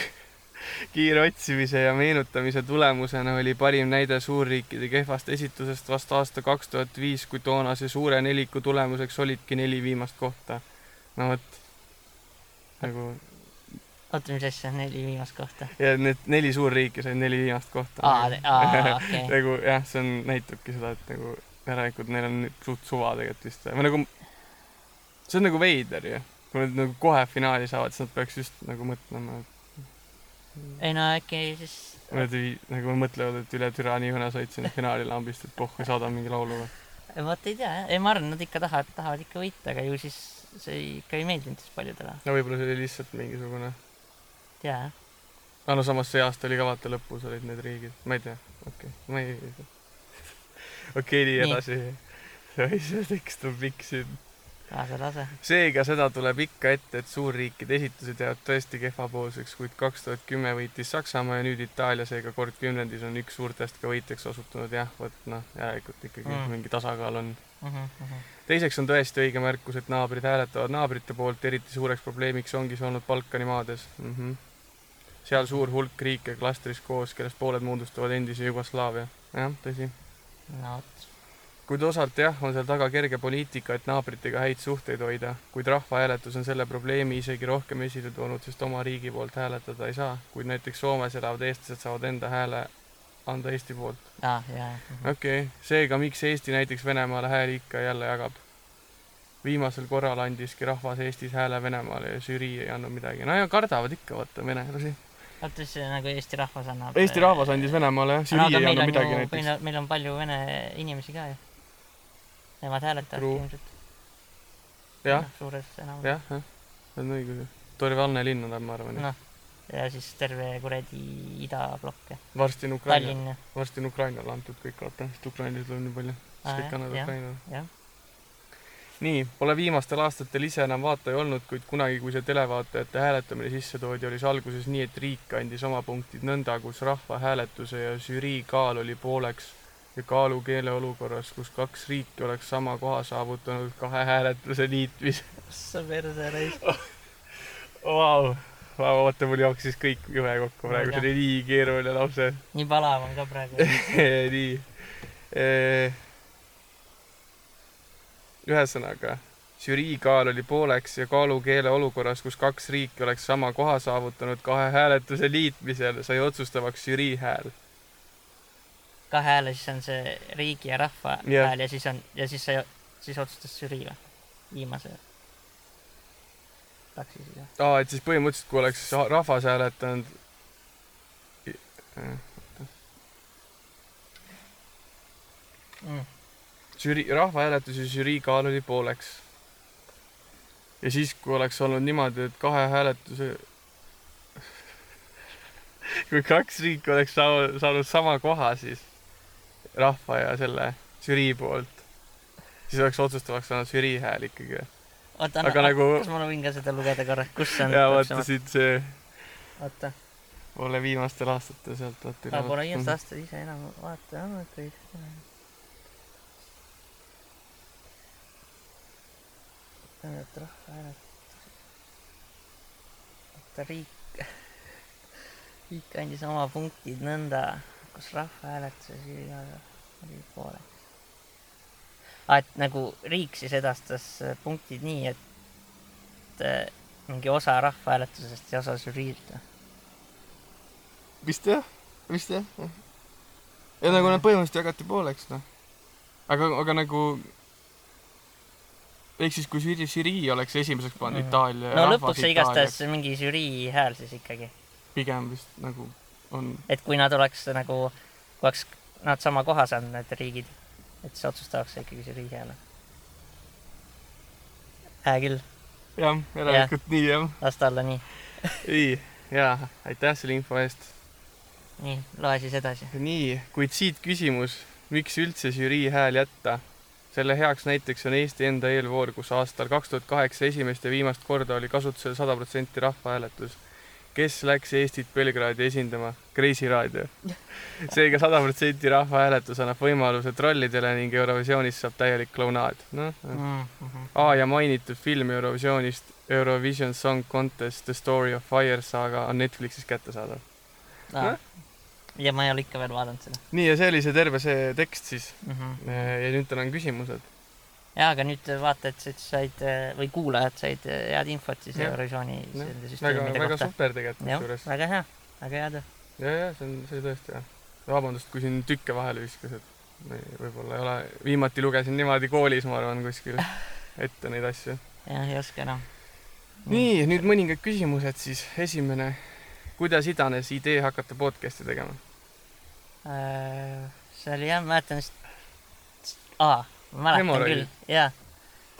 S1: kiire otsimise ja meenutamise tulemusena oli parim näide suurriikide kehvast esitusest vast aasta kaks tuhat viis , kui toonase suure neliku tulemuseks olidki neli viimast kohta . no vot , nagu
S2: oota , mis asja , neli viimast kohta .
S1: ja need neli suurriiki said neli viimast kohta .
S2: aa , aa , okei .
S1: nagu jah , see on , näitabki seda , et nagu järelikult neil on suht suva tegelikult vist või nagu see on nagu veider ju , kui nad nagu kohe finaali saavad , siis nad peaks just nagu mõtlema ,
S2: ei no äkki siis
S1: et nad ei nagu mõtlevad , et üle türa nii õne said sinna finaali lambist , et pohhu saadame mingi laulu või .
S2: Ei, vot ei tea jah , ei ma arvan , nad ikka tahavad , tahavad ikka võita , aga ju siis see ei- ikka ei meeldinud siis paljudele ,
S1: no võib-olla see oli lihtsalt mingisugune ,
S2: tea jah .
S1: aga no samas see aasta oli ka vaata lõpus olid need riigid , ma ei tea , okei okay. , ma ei okei , nii
S2: Nii.
S1: edasi . oi , see tekst on pikk siin .
S2: lase , lase .
S1: seega seda tuleb ikka ette , et suurriikide esitused jäävad tõesti kehvapoolseks , kuid kaks tuhat kümme võitis Saksamaa ja nüüd Itaalia , seega kord kümnendis on üks suurtest ka võitjaks osutunud , jah , vot noh , järelikult ikkagi mm.
S2: Mm.
S1: mingi tasakaal on .
S2: Mhm, jah ,
S1: teiseks on tõesti õige märkus , et naabrid hääletavad naabrite poolt , eriti suureks probleemiks ongi see olnud Balkani maades mm . -hmm. seal suur hulk riike klastris koos , kellest pooled moodustavad endise Jugoslaavia , jah , tõsi
S2: no vot ,
S1: kuid osalt jah , on seal taga kerge poliitika , et naabritega häid suhteid hoida , kuid rahvahääletus on selle probleemi isegi rohkem esile toonud , sest oma riigi poolt hääletada ei saa , kuid näiteks Soomes elavad eestlased saavad enda hääle anda Eesti poolt .
S2: aa , jaa , mhm. jaa .
S1: okei okay. , seega miks Eesti näiteks Venemaale hääli ikka ja jälle jagab ? viimasel korral andiski rahvas Eestis hääle Venemaale ja žürii ei andnud midagi , no ja kardavad ikka , vaata , venelasi .
S2: vaata , mis see nagu Eesti rahvas annab . äh,
S1: Eesti rahvas andis Venemaale , jah , žürii ei andnud midagi näiteks .
S2: näiteks . meil on palju vene inimesi ka ju . Nemad hääletavad
S1: True.
S2: ilmselt .
S1: jah ,
S2: suures enamus .
S1: jah , jah , see on õigus . Torivalne linn on ta , ma arvan no. ,
S2: noh , ja siis terve kuradi idablokk ja
S1: varsti on Ukraina .
S2: Tallinn ja ,
S1: varsti on Ukrainale antud kõik , vaata , sest Ukrainas on nii palju ,
S2: Aa,
S1: siis kõik
S2: jah,
S1: annavad
S2: jah.
S1: Ukrainale .
S2: jah .
S1: nii , pole viimastel aastatel ise enam vaataja olnud , kuid kunagi , kui see televaatajate hääletamine sisse toodi , oli see alguses nii , et riik andis oma punktid nõnda , kus rahvahääletuse ja žürii kaal oli pooleks ja kaalukeele olukorras , kus kaks riiki oleks sama koha saavutanud kahe hääletuse liitmise .
S2: sa perse raisk .
S1: Vau , vaata , mul jooksis kõik juhe kokku
S2: Ma ei
S1: praegu , see
S2: tea.
S1: oli nii keeruline lause
S2: nii palav on ka praegu .
S1: nii . ühesõnaga , žürii kaal oli pooleks ja kaalukeele olukorras , kus kaks riiki oleks sama koha saavutanud kahe hääletuse liitmisel , sai otsustavaks žürii hääl .
S2: kahe hääle , siis on see riigi ja rahva
S1: Jah.
S2: yeah. hääl ja siis on , ja siis see , siis otsustas žürii või ? viimase taksi siis jah .
S1: aa , et siis põhimõtteliselt , kui oleks ha- rahvas hääletanud .
S2: Mm.
S1: žürii , rahvahääletus ja žürii kaal oli pooleks . ja siis , kui oleks olnud niimoodi , et kahe hääletuse kui kaks riiki oleks saa- saanud sama koha , siis rahva ja selle žürii poolt , siis oleks otsustavaks saanud žürii hääl ikkagi .
S2: oota ,
S1: Aga
S2: aga nagu
S1: nagu-
S2: kas ma võin ka seda lugeda korra , kus see on
S1: ja vaata siit see
S2: oota ,
S1: pole viimastel aastatel sealt vaata noh,
S2: ma pole viimast aastat ise enam vaata olnud või . oota , et rahvahääletus . oota , riik , riik andis oma punktid nõnda , kus rahvahääletuses igal oli poole . aa , et nagu riik siis edastas äh, punktid nii , et äh, mingi osa rahvahääletusest ja osa žüriilt või ?
S1: vist jah , vist jah . ja nagu nad põhimõtteliselt jagati pooleks , noh . aga , aga nagu ehk siis , kui žürii , žürii oleks esimeseks pannud
S2: Mhm.
S1: Itaalia
S2: no lõpuks see igastahes mingi žürii hääl siis ikkagi ,
S1: pigem vist nagu on ,
S2: et kui nad oleks nagu , kui oleks nad sama koha saanud , need riigid , et siis otsustaks ikkagi žürii hääle . hea küll ,
S1: jah , järelikult ja. nii jah .
S2: las ta olla nii ,
S1: ei , jaa , aitäh selle info eest .
S2: nii loe siis edasi .
S1: nii , kuid siit küsimus , miks üldse žürii hääl jätta ? selle heaks näiteks on Eesti enda eelvoor , kus aastal kaks tuhat kaheksa esimest ja viimast korda oli kasutusel sada protsenti rahvahääletus . kes läks Eestit Belgradi esindama ? Kreisiraadio . seega sada protsenti rahvahääletus annab võimaluse trollidele ning Eurovisioonis saab täielik klounaad . noh ,
S2: Mhm.
S1: aa ja mainitud film Eurovisioonist , Eurovision Song Contest The Story of Fire Saga on Netflixis kättesaadav .
S2: Ah. ja ma ei ole ikka veel vaadanud seda
S1: nii , Eh, ja see oli see terve see tekst siis
S2: mm . -hmm.
S1: ja nüüd tal on küsimused .
S2: jaa , aga nüüd vaatajad said , said äh, või kuulajad said äh, head infot siis
S1: Jah.
S2: Eurovisiooni
S1: Jah.
S2: selle
S1: väga ,
S2: süsteemide
S1: väga
S2: kohta .
S1: super tegelikult
S2: jah ,
S1: kusjuures .
S2: väga hea , väga hea töö .
S1: ja , ja see on , see oli tõesti hea . vabandust , kui siin tükke vahele viskas , et me võib-olla ei ole , viimati lugesin niimoodi koolis , ma arvan , kuskil ette neid asju .
S2: jah , ei oska enam .
S1: nii , nüüd mõningad küsimused siis . esimene , kuidas iganes idee hakata podcast'i tegema ?
S2: Äh, see oli jah , ma mäletan vist , aa , ma mäletan
S1: Memor oli.
S2: küll , jaa .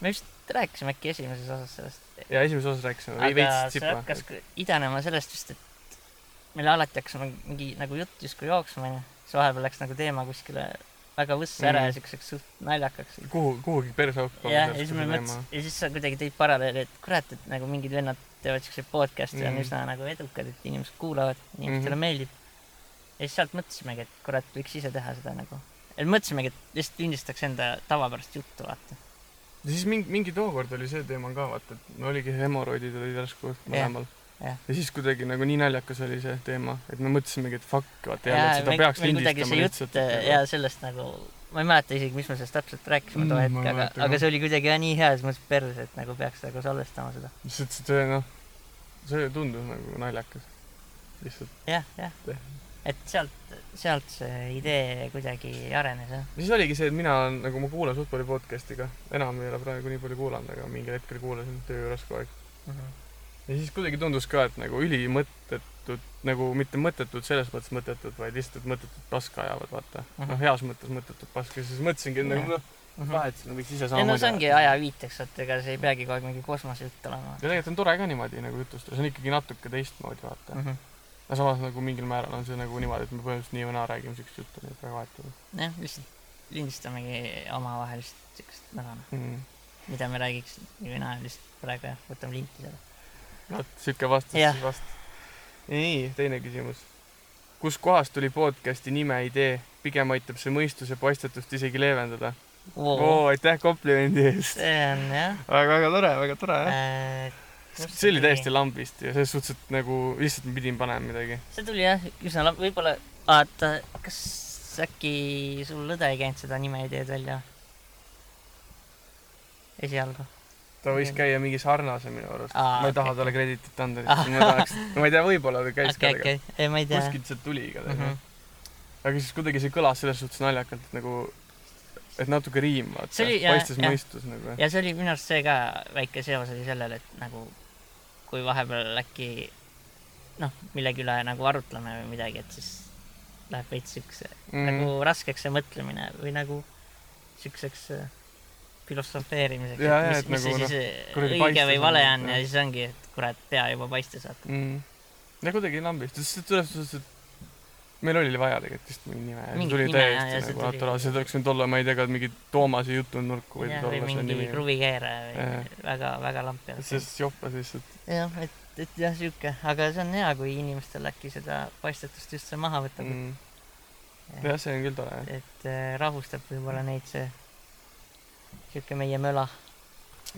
S2: me vist rääkisime äkki esimeses osas sellest .
S1: ja esimeses osas rääkisime , või
S2: aga
S1: veits
S2: see
S1: tsipa .
S2: hakkas kõ- idanema sellest vist , et meil alati hakkas nagu mingi nagu jutt justkui jooksma , onju . siis vahepeal läks nagu teema kuskile väga võssa ära
S1: Mm.
S2: ja siukseks suht naljakaks .
S1: kuhu , kuhugi persauku .
S2: jah , ja siis me mõtlesime , ja siis sa kuidagi tõid paralleeli , et kurat , et nagu mingid vennad teevad siukseid podcast'e ja on
S1: Mhm.
S2: üsna nagu edukad , et inimesed kuulavad , inimestele
S1: Mhm.
S2: meeldib . ja siis sealt mõtlesimegi , et kurat , võiks ise teha seda nagu . mõtlesimegi , et lihtsalt lindistaks enda tavapärast juttu , vaata .
S1: ja siis mingi , mingi tookord oli see teema ka , vaata , et me oligi hemoroidid olid järsku mõlemal .
S2: jah.
S1: ja siis kuidagi nagu nii naljakas oli see teema , et me mõtlesimegi , et fuck , vaata jälle , et seda peaks lindistama lihtsalt .
S2: ja sellest nagu , ma ei mäleta isegi , mis me sellest täpselt rääkisime too
S1: Mm,
S2: hetk
S1: ma , ei
S2: aga
S1: mäleta , ka.
S2: aga see oli kuidagi jah, nii hea , siis mõtlesin perse , et nagu peaks nagu salvestama seda .
S1: lihtsalt see , noh , see tundus nagu naljakas . lihtsalt .
S2: jah , jah
S1: Jah. .
S2: et sealt , sealt see idee kuidagi arenes , jah .
S1: ja siis oligi see , et mina olen- nagu ma kuulan suht palju podcast'i ka , enam ei ole praegu nii palju kuulanud , aga mingil hetkel kuulasin töö juures kogu aeg .
S2: Mhm.
S1: ja siis kuidagi tundus ka , et nagu ülimõttetud , nagu mitte mõttetud selles mõttes mõttetud , vaid lihtsalt et mõttetut paska ajavad , vaata uh .
S2: Mhm.
S1: -huh. noh , heas mõttes mõttetut paska , siis mõtlesingi , et nagu noh , vahet , seda võiks ise
S2: ei no
S1: samamoodi
S2: see ongi . ajaviiteks , et ega see ei peagi kogu aeg mingi kosmosejutt olema
S1: ja . tegelikult on tore ka niimoodi nagu jutustada , see on ikkagi natuke teistmoodi , vaata
S2: Mm.
S1: uh . -huh.
S2: Mhm.
S1: aga samas nagu mingil määral on see nagu niimoodi , et me põhimõtteliselt nii või naa räägime siukest juttu , nii et väga vahet ei ole
S2: jah , lihtsalt lindistamegi omavahel lihtsalt siukest nagu ,
S1: mm. .
S2: mida me räägiks nii või naa , lihtsalt praegu jah , võtame linti selle .
S1: vot siuke vastus
S2: Jah.
S1: siis vast . nii , teine küsimus . kuskohast tuli podcasti nime idee , pigem aitab see mõistuse paistetust isegi leevendada
S2: see
S1: oo , aitäh komplimendi eest .
S2: on jah
S1: väga , väga tore , väga tore jah .
S2: äh, .
S1: see oli täiesti . lambist ja selles suhtes , et nagu lihtsalt ma pidin panema midagi .
S2: see tuli jah , üsna lamp , võib-olla , vaata , kas äkki sul õde ei käinud seda nime ideed välja ? esialgu .
S1: ta võis käia mingi sarnase minu arust .
S2: Aa,
S1: ma ei taha
S2: okei.
S1: talle kreditit anda , lihtsalt ma tahaks , ma ei tea , võib-olla ta käis
S2: okei ,
S1: kellega .
S2: okei , ei ma ei tea .
S1: kuskilt sealt tuli igatahes
S2: Mhm.
S1: jah . aga siis kuidagi see kõlas selles suhtes naljakalt , et nagu , et natuke riim ,
S2: See
S1: vaata .
S2: oli- jah,
S1: paistes
S2: jah.
S1: mõistus nagu jah .
S2: ja see oli minu arust see ka väike seos oli sellele , et nagu kui vahepeal äkki noh , millegi üle nagu arutleme või midagi , et siis läheb veits siukse mm.
S1: Mhm.
S2: nagu raskeks see mõtlemine või nagu siukseks äh, filosofeerimiseks ,
S1: Jaa, jaa,
S2: mis
S1: et ,
S2: mis
S1: nagu
S2: nagu,
S1: noh,
S2: siis noh,
S1: kuradi
S2: õige või
S1: paistes
S2: vale
S1: on, nagu,
S2: on
S1: jah.
S2: ja siis ongi , et kurat , pea juba paistes vaata .
S1: mm. . ja kuidagi lambist , sest selles suhtes , et meil oli vaja tegelikult vist mingi nime ja see
S2: Mingit
S1: tuli
S2: nime, jah, ja
S1: täiesti
S2: see
S1: nagu
S2: tuli-
S1: naturaalselt , see oleks võinud olla , ma ei tea , ka mingi Toomase jutunurk võis
S2: jah , või
S1: olla see
S2: mingi
S1: nimi .
S2: kruvikeere või
S1: Jah.
S2: väga , väga lamp ja
S1: see jopas lihtsalt .
S2: jah , et , et jah , sihuke , aga see on hea , kui inimestel äkki seda paistetust just see maha võtab mm. .
S1: mhm. jah , see on küll tore jah .
S2: et äh, rahustab võib-olla neid see sihuke meie möla .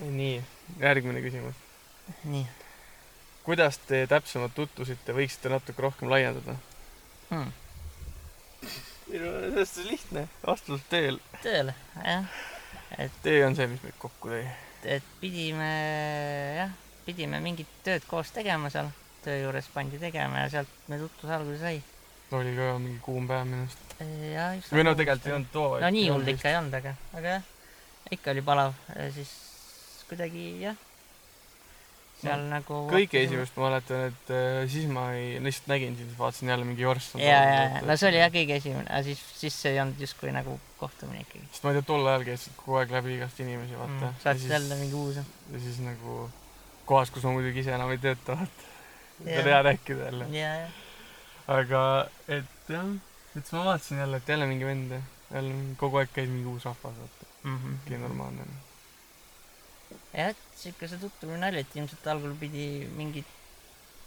S1: nii , järgmine küsimus .
S2: nii
S1: kuidas te täpsemalt tutvusite , võiksite natuke rohkem laiendada ?
S2: hmm. .
S1: selles suhtes lihtne , vastus teel .
S2: tööle , jah .
S1: tee on see , mis meid kokku tõi .
S2: et pidime , jah , pidime mingit tööd koos tegema seal , töö juures pandi tegema ja sealt me tutvus alguse sai .
S1: oli ka mingi kuum päev minu arust .
S2: ja üks
S1: või no tegelikult ei olnud too .
S2: no nii hull ikka ei olnud , aga , aga jah , ikka oli palav , siis kuidagi jah , seal no, nagu
S1: kõige . esimest ma mäletan , et äh, siis ma ei , lihtsalt nägin sind , vaatasin jälle mingi jorss on
S2: ja , ja , no see oli jah . kõige esimene , aga siis , siis see ei olnud justkui nagu kohtumine ikkagi .
S1: sest ma ei tea , tol ajal käisid kogu aeg läbi igast inimesi , vaata
S2: Mm, saad jälle mingi uus .
S1: ja siis nagu kohas , kus ma muidugi ise enam ei tööta , vaata .
S2: Jaa.
S1: oli hea rääkida jälle .
S2: ja , ja ,
S1: aga et jah , et siis ma vaatasin jälle , et jälle mingi vend , jälle mingi- kogu aeg käis mingi uus rahvas , vaata . Mhm, okei ,
S2: Mhm.
S1: normaalne .
S2: jah , et sihuke see tutvumine oli , et ilmselt algul pidi mingit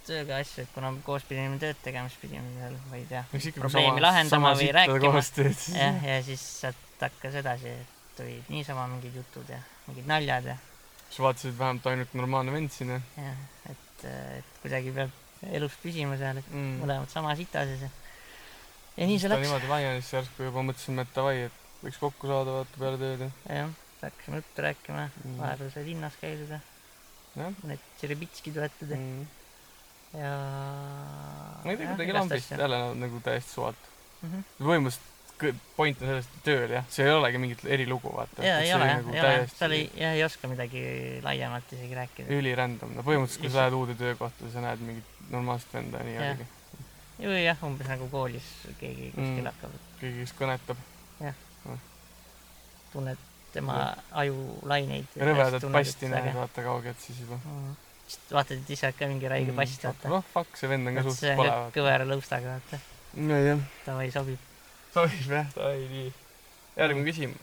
S2: tööga asju , et kuna me koos pidime tööd tegema , siis pidime seal , ma ei tea ,
S1: eks ikka , kui
S2: Probleemi
S1: sama ,
S2: lahendama
S1: sama
S2: või
S1: sitta
S2: rääkima.
S1: koos teed , siis
S2: jah , ja siis sealt hakkas edasi , et tulid niisama mingid jutud ja mingid naljad ja ,
S1: siis vaatasid vähemalt ainult normaalne vend siin , jah
S2: ja et , et kuidagi peab elus püsima seal , et
S1: mm. .
S2: mõlemad sama sita sees ja , ja nii see läks ,
S1: niimoodi laienes järsku juba mõtlesime , et davai , et võiks kokku saada , vaata peale tööd ja .
S2: jah , hakkasime juttu rääkima ,
S1: Mm.
S2: vahepeal sai linnas käidud ja
S1: jah
S2: mõned tšerebitskid võetud ja
S1: mm. .
S2: ja
S1: ma ei tea , kuidagi lambist jälle nagu- nagu täiesti suvalt .
S2: mm .
S1: põhimõtteliselt kõ- point on selles et tööl jah , see ei olegi mingit erilugu vaata .
S2: jaa , ei ole
S1: nagu
S2: jah , ei ole , ta oli , jah , ei oska midagi laiemalt isegi rääkida .
S1: ülirändam , no põhimõtteliselt kui sa lähed uude töökohta , sa näed mingit normaalset venda ja nii
S2: Jah.
S1: oligi .
S2: või jah , umbes nagu koolis keegi kuskil
S1: Mm.
S2: mm. hakkab ,
S1: keegi , kes kõnetab
S2: tunned tema ajulaineid .
S1: rõvedat Mm. pasti , nagu. näed , vaata kaugelt siis juba .
S2: vaatad , Mm. et ise ka mingi räige past vaata .
S1: noh , fuck , see vend on ka
S2: et see
S1: suhteliselt
S2: on
S1: pole
S2: ka . kõvera lõustaga , vaata .
S1: nojah .
S2: davai , sobib .
S1: sobib jah , ai nii . järgmine küsimus .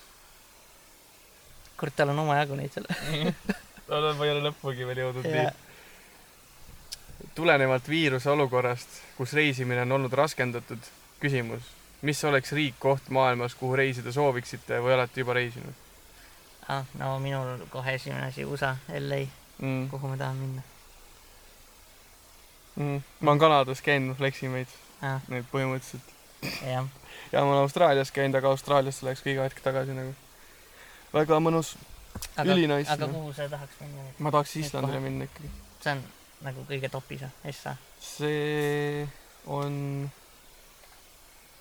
S2: kurat , tal on omajagu neid seal .
S1: no ma ei ole lõpugi veel jõudnud nii . tulenevalt viiruse olukorrast , kus reisimine on olnud raskendatud , küsimus , mis oleks riik , koht maailmas , kuhu reisida sooviksite või olete juba reisinud
S2: ah, . no minul kohe esimene asi USA , LA ,
S1: mm. ?
S2: kuhu ma tahan minna
S1: Mm. ma olen Kanadas käinud , fleksimeid ,
S2: ah, .
S1: neid põhimõtteliselt .
S2: jah ,
S1: ja ma olen Austraalias käinud , aga Austraaliasse läheks ka iga hetk tagasi nagu . väga mõnus ,
S2: aga ,
S1: ülinice
S2: aga
S1: noh.
S2: kuhu sa tahaks minna nüüd ?
S1: ma tahaks
S2: Nüüd
S1: Islandile
S2: kohe.
S1: minna ikkagi .
S2: see on nagu kõige topis , Essa .
S1: see on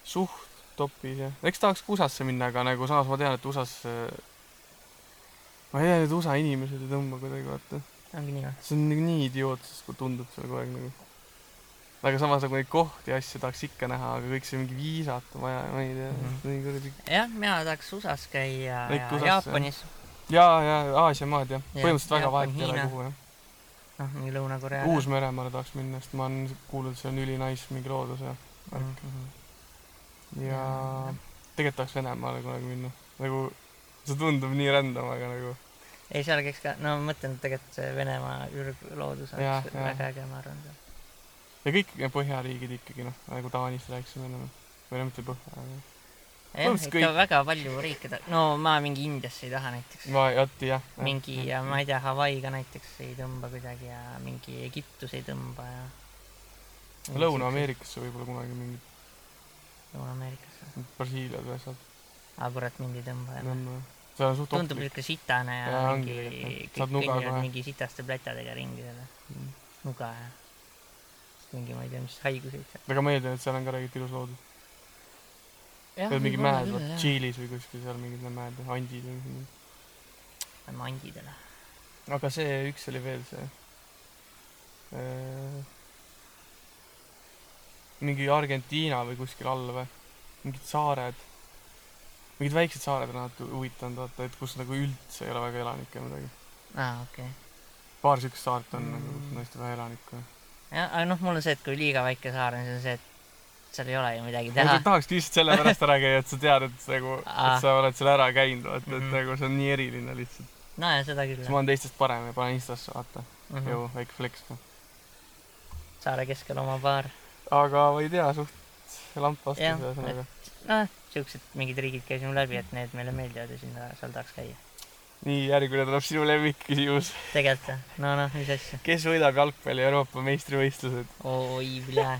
S1: suht topis jah , eks tahaks ka USA-sse minna , aga nagu samas ma tean , et USA-s ma ei tea , need USA inimesed ei tõmba kuidagi vaata ,
S2: ongi nii või ?
S1: see on nagu nii idiootsus , kui tundub seal kogu aeg nagu . aga samas nagu neid kohti ja asju tahaks ikka näha , aga kõik see mingi viisat on vaja , ma ei tea mm ,
S2: Mhm.
S1: -hmm. nii kuradi .
S2: jah , mina tahaks USA-s käia
S1: Kõik
S2: ja
S1: USA-sse, jah.
S2: Jaapanis ,
S1: ja , ja Aasia maad jah , põhimõtteliselt väga
S2: Jaapan,
S1: vahet ei ole
S2: Hiina.
S1: kuhu jah .
S2: noh , mingi Lõuna-Korea .
S1: Uus-Meremaale tahaks minna , sest ma olen kuulnud , see on ülinais mingi loodus ja
S2: mm . -hmm.
S1: ja
S2: Mhm. Jaa.
S1: tegelikult tahaks Venemaale kunagi minna , nagu see tundub nii random , aga nagu
S2: ei , seal käiks ka , no ma mõtlen , et tegelikult see Venemaa ürgloodus
S1: Jah,
S2: oleks
S1: jah.
S2: väga äge , ma arvan .
S1: ja kõik need põhjariigid ikkagi noh , nagu Taanist rääkisime ennem või no mitte põhja , aga
S2: jah ,
S1: Põhimõtteliselt
S2: ikka kõik... väga palju riike ta- , no ma mingi Indiasse ei taha näiteks .
S1: ma vot jah .
S2: mingi ja ma ei tea , Hawaii ka näiteks ei tõmba kuidagi ja mingi Egiptus ei tõmba ja .
S1: tea . Lõuna-Ameerikasse võib-olla kunagi mingi
S2: Lõuna-Ameerikasse .
S1: Brasiilias või sealt
S2: aa , kurat , mind ei tõmba jah .
S1: minna . seal on suht
S2: tundub
S1: ohtlik .
S2: niisugune sitane ja,
S1: Jaa,
S2: ja
S1: ongi
S2: mingi
S1: tegelikult, jah. Saad
S2: kõik
S1: nuga
S2: kõnnivad
S1: kohe. Mm.
S2: mingi sitaste plätadega ringi selle nuga ja mingi ma ei tea , mis haiguseid seal .
S1: väga meeldiv , et seal on ka tegelikult ilus loodus . või mingi mäed , vot . Tšiilis või kuskil seal mingid need mäed , andid või mingi .
S2: Lähme andidele .
S1: aga see üks oli veel see äh, mingi Argentiina või kuskil all või mingid saared mingid väiksed saared on alati huvitanud vaata et kus nagu üldse ei ole väga elanikke ja midagi
S2: aa , okei okay. .
S1: paar siukest saart on nagu
S2: Mm.
S1: kus on hästi vähe elanikke
S2: jah , aga noh , mul on see , et kui liiga väike saar on , siis on see , et seal ei ole ju midagi
S1: ma
S2: teha .
S1: lihtsalt tahakski lihtsalt sellepärast ära käia et sa tead et sa nagu
S2: Aa.
S1: et sa oled seal ära käinud vaata et
S2: Mhm.
S1: nagu see on nii eriline lihtsalt
S2: no ja seda küll
S1: siis . ma olen teistest parem ja panen instasse vaata
S2: Mm
S1: jõu väike flex noh
S2: saare keskel oma baar .
S1: aga ma ei tea suht lamp vastu
S2: Jah,
S1: ühesõnaga
S2: noh , siuksed mingid riigid käisime läbi , et need meile meeldivad ja sinna seal tahaks käia .
S1: nii , järgmine tuleb sinu lemmikküsimus .
S2: tegelikult jah , no noh , mis asja .
S1: kes võidab jalgpalli Euroopa meistrivõistlused ?
S2: oi , plee .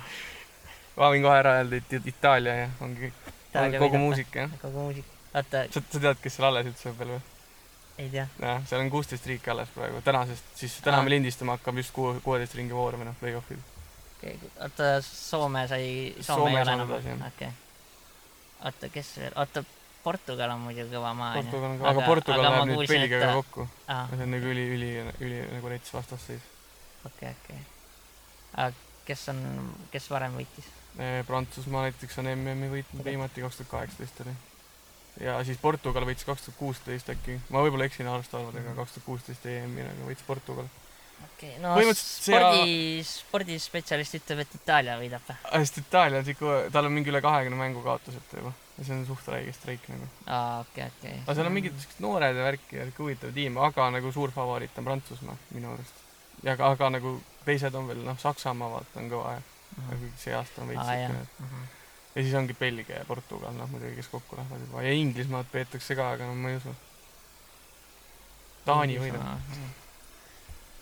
S1: ma võin kohe ära öelda , et It- Itaalia ja ongi kõik . kogu . muusika jah .
S2: kogu muusika . oota ,
S1: sa , sa tead , kes seal alles üldse on veel või ?
S2: ei tea .
S1: jah , seal on kuusteist riiki alles praegu , tänasest , siis täna
S2: Aa.
S1: me lindistama hakkame just kuue , kuueteist ringi noh, voorumine , play-off'il .
S2: oota , Soome sai , Soome
S1: Soome
S2: ei
S1: ei
S2: ole
S1: saanud
S2: enam ,
S1: edasi, jah.
S2: okei . oota , kes veel , oota , Portugal on muidu kõva maa .
S1: Portugal on ka , aga Portugal läheb nüüd Belgiaga . kokku .
S2: aa ,
S1: see on nagu üli , üli , üli nagu rets vastasseis .
S2: okei , okei . aga kes on , kes varem võitis ?
S1: Eh, Prantsusmaa näiteks on MM-i võitnud viimati , kaks tuhat kaheksateist oli . ja siis Portugal võitis kaks tuhat kuusteist äkki , ma võib-olla eksin aastaarvudega , kaks tuhat kuusteist EM-i nagu võitis Portugal .
S2: okei , no
S1: Põhimõtteliselt see-
S2: spordi , spordispetsialist ütleb , et Itaalia võidab või ?
S1: Ah, sest Itaalia on siuke , tal on mingi üle kahekümne mängu kaotuseta juba ja see on suht väike streik nagu .
S2: aa , okei , okei .
S1: aga seal on mingid siuksed noored ja värki ja siuke huvitav tiim , aga nagu suur favoriit on Prantsusmaa minu arust . ja aga , aga nagu teised on veel noh , Saksamaa vaata on kõva ja
S2: Mhm.
S1: nagu see aasta on veits
S2: Aa, jah.
S1: siukene .
S2: Mhm.
S1: ja siis ongi Belgia ja Portugal noh muidugi , kes kokku lähevad juba ja Inglismaad peetakse ka , aga no ma ei usu . Taani võidab .
S2: Inglismaa.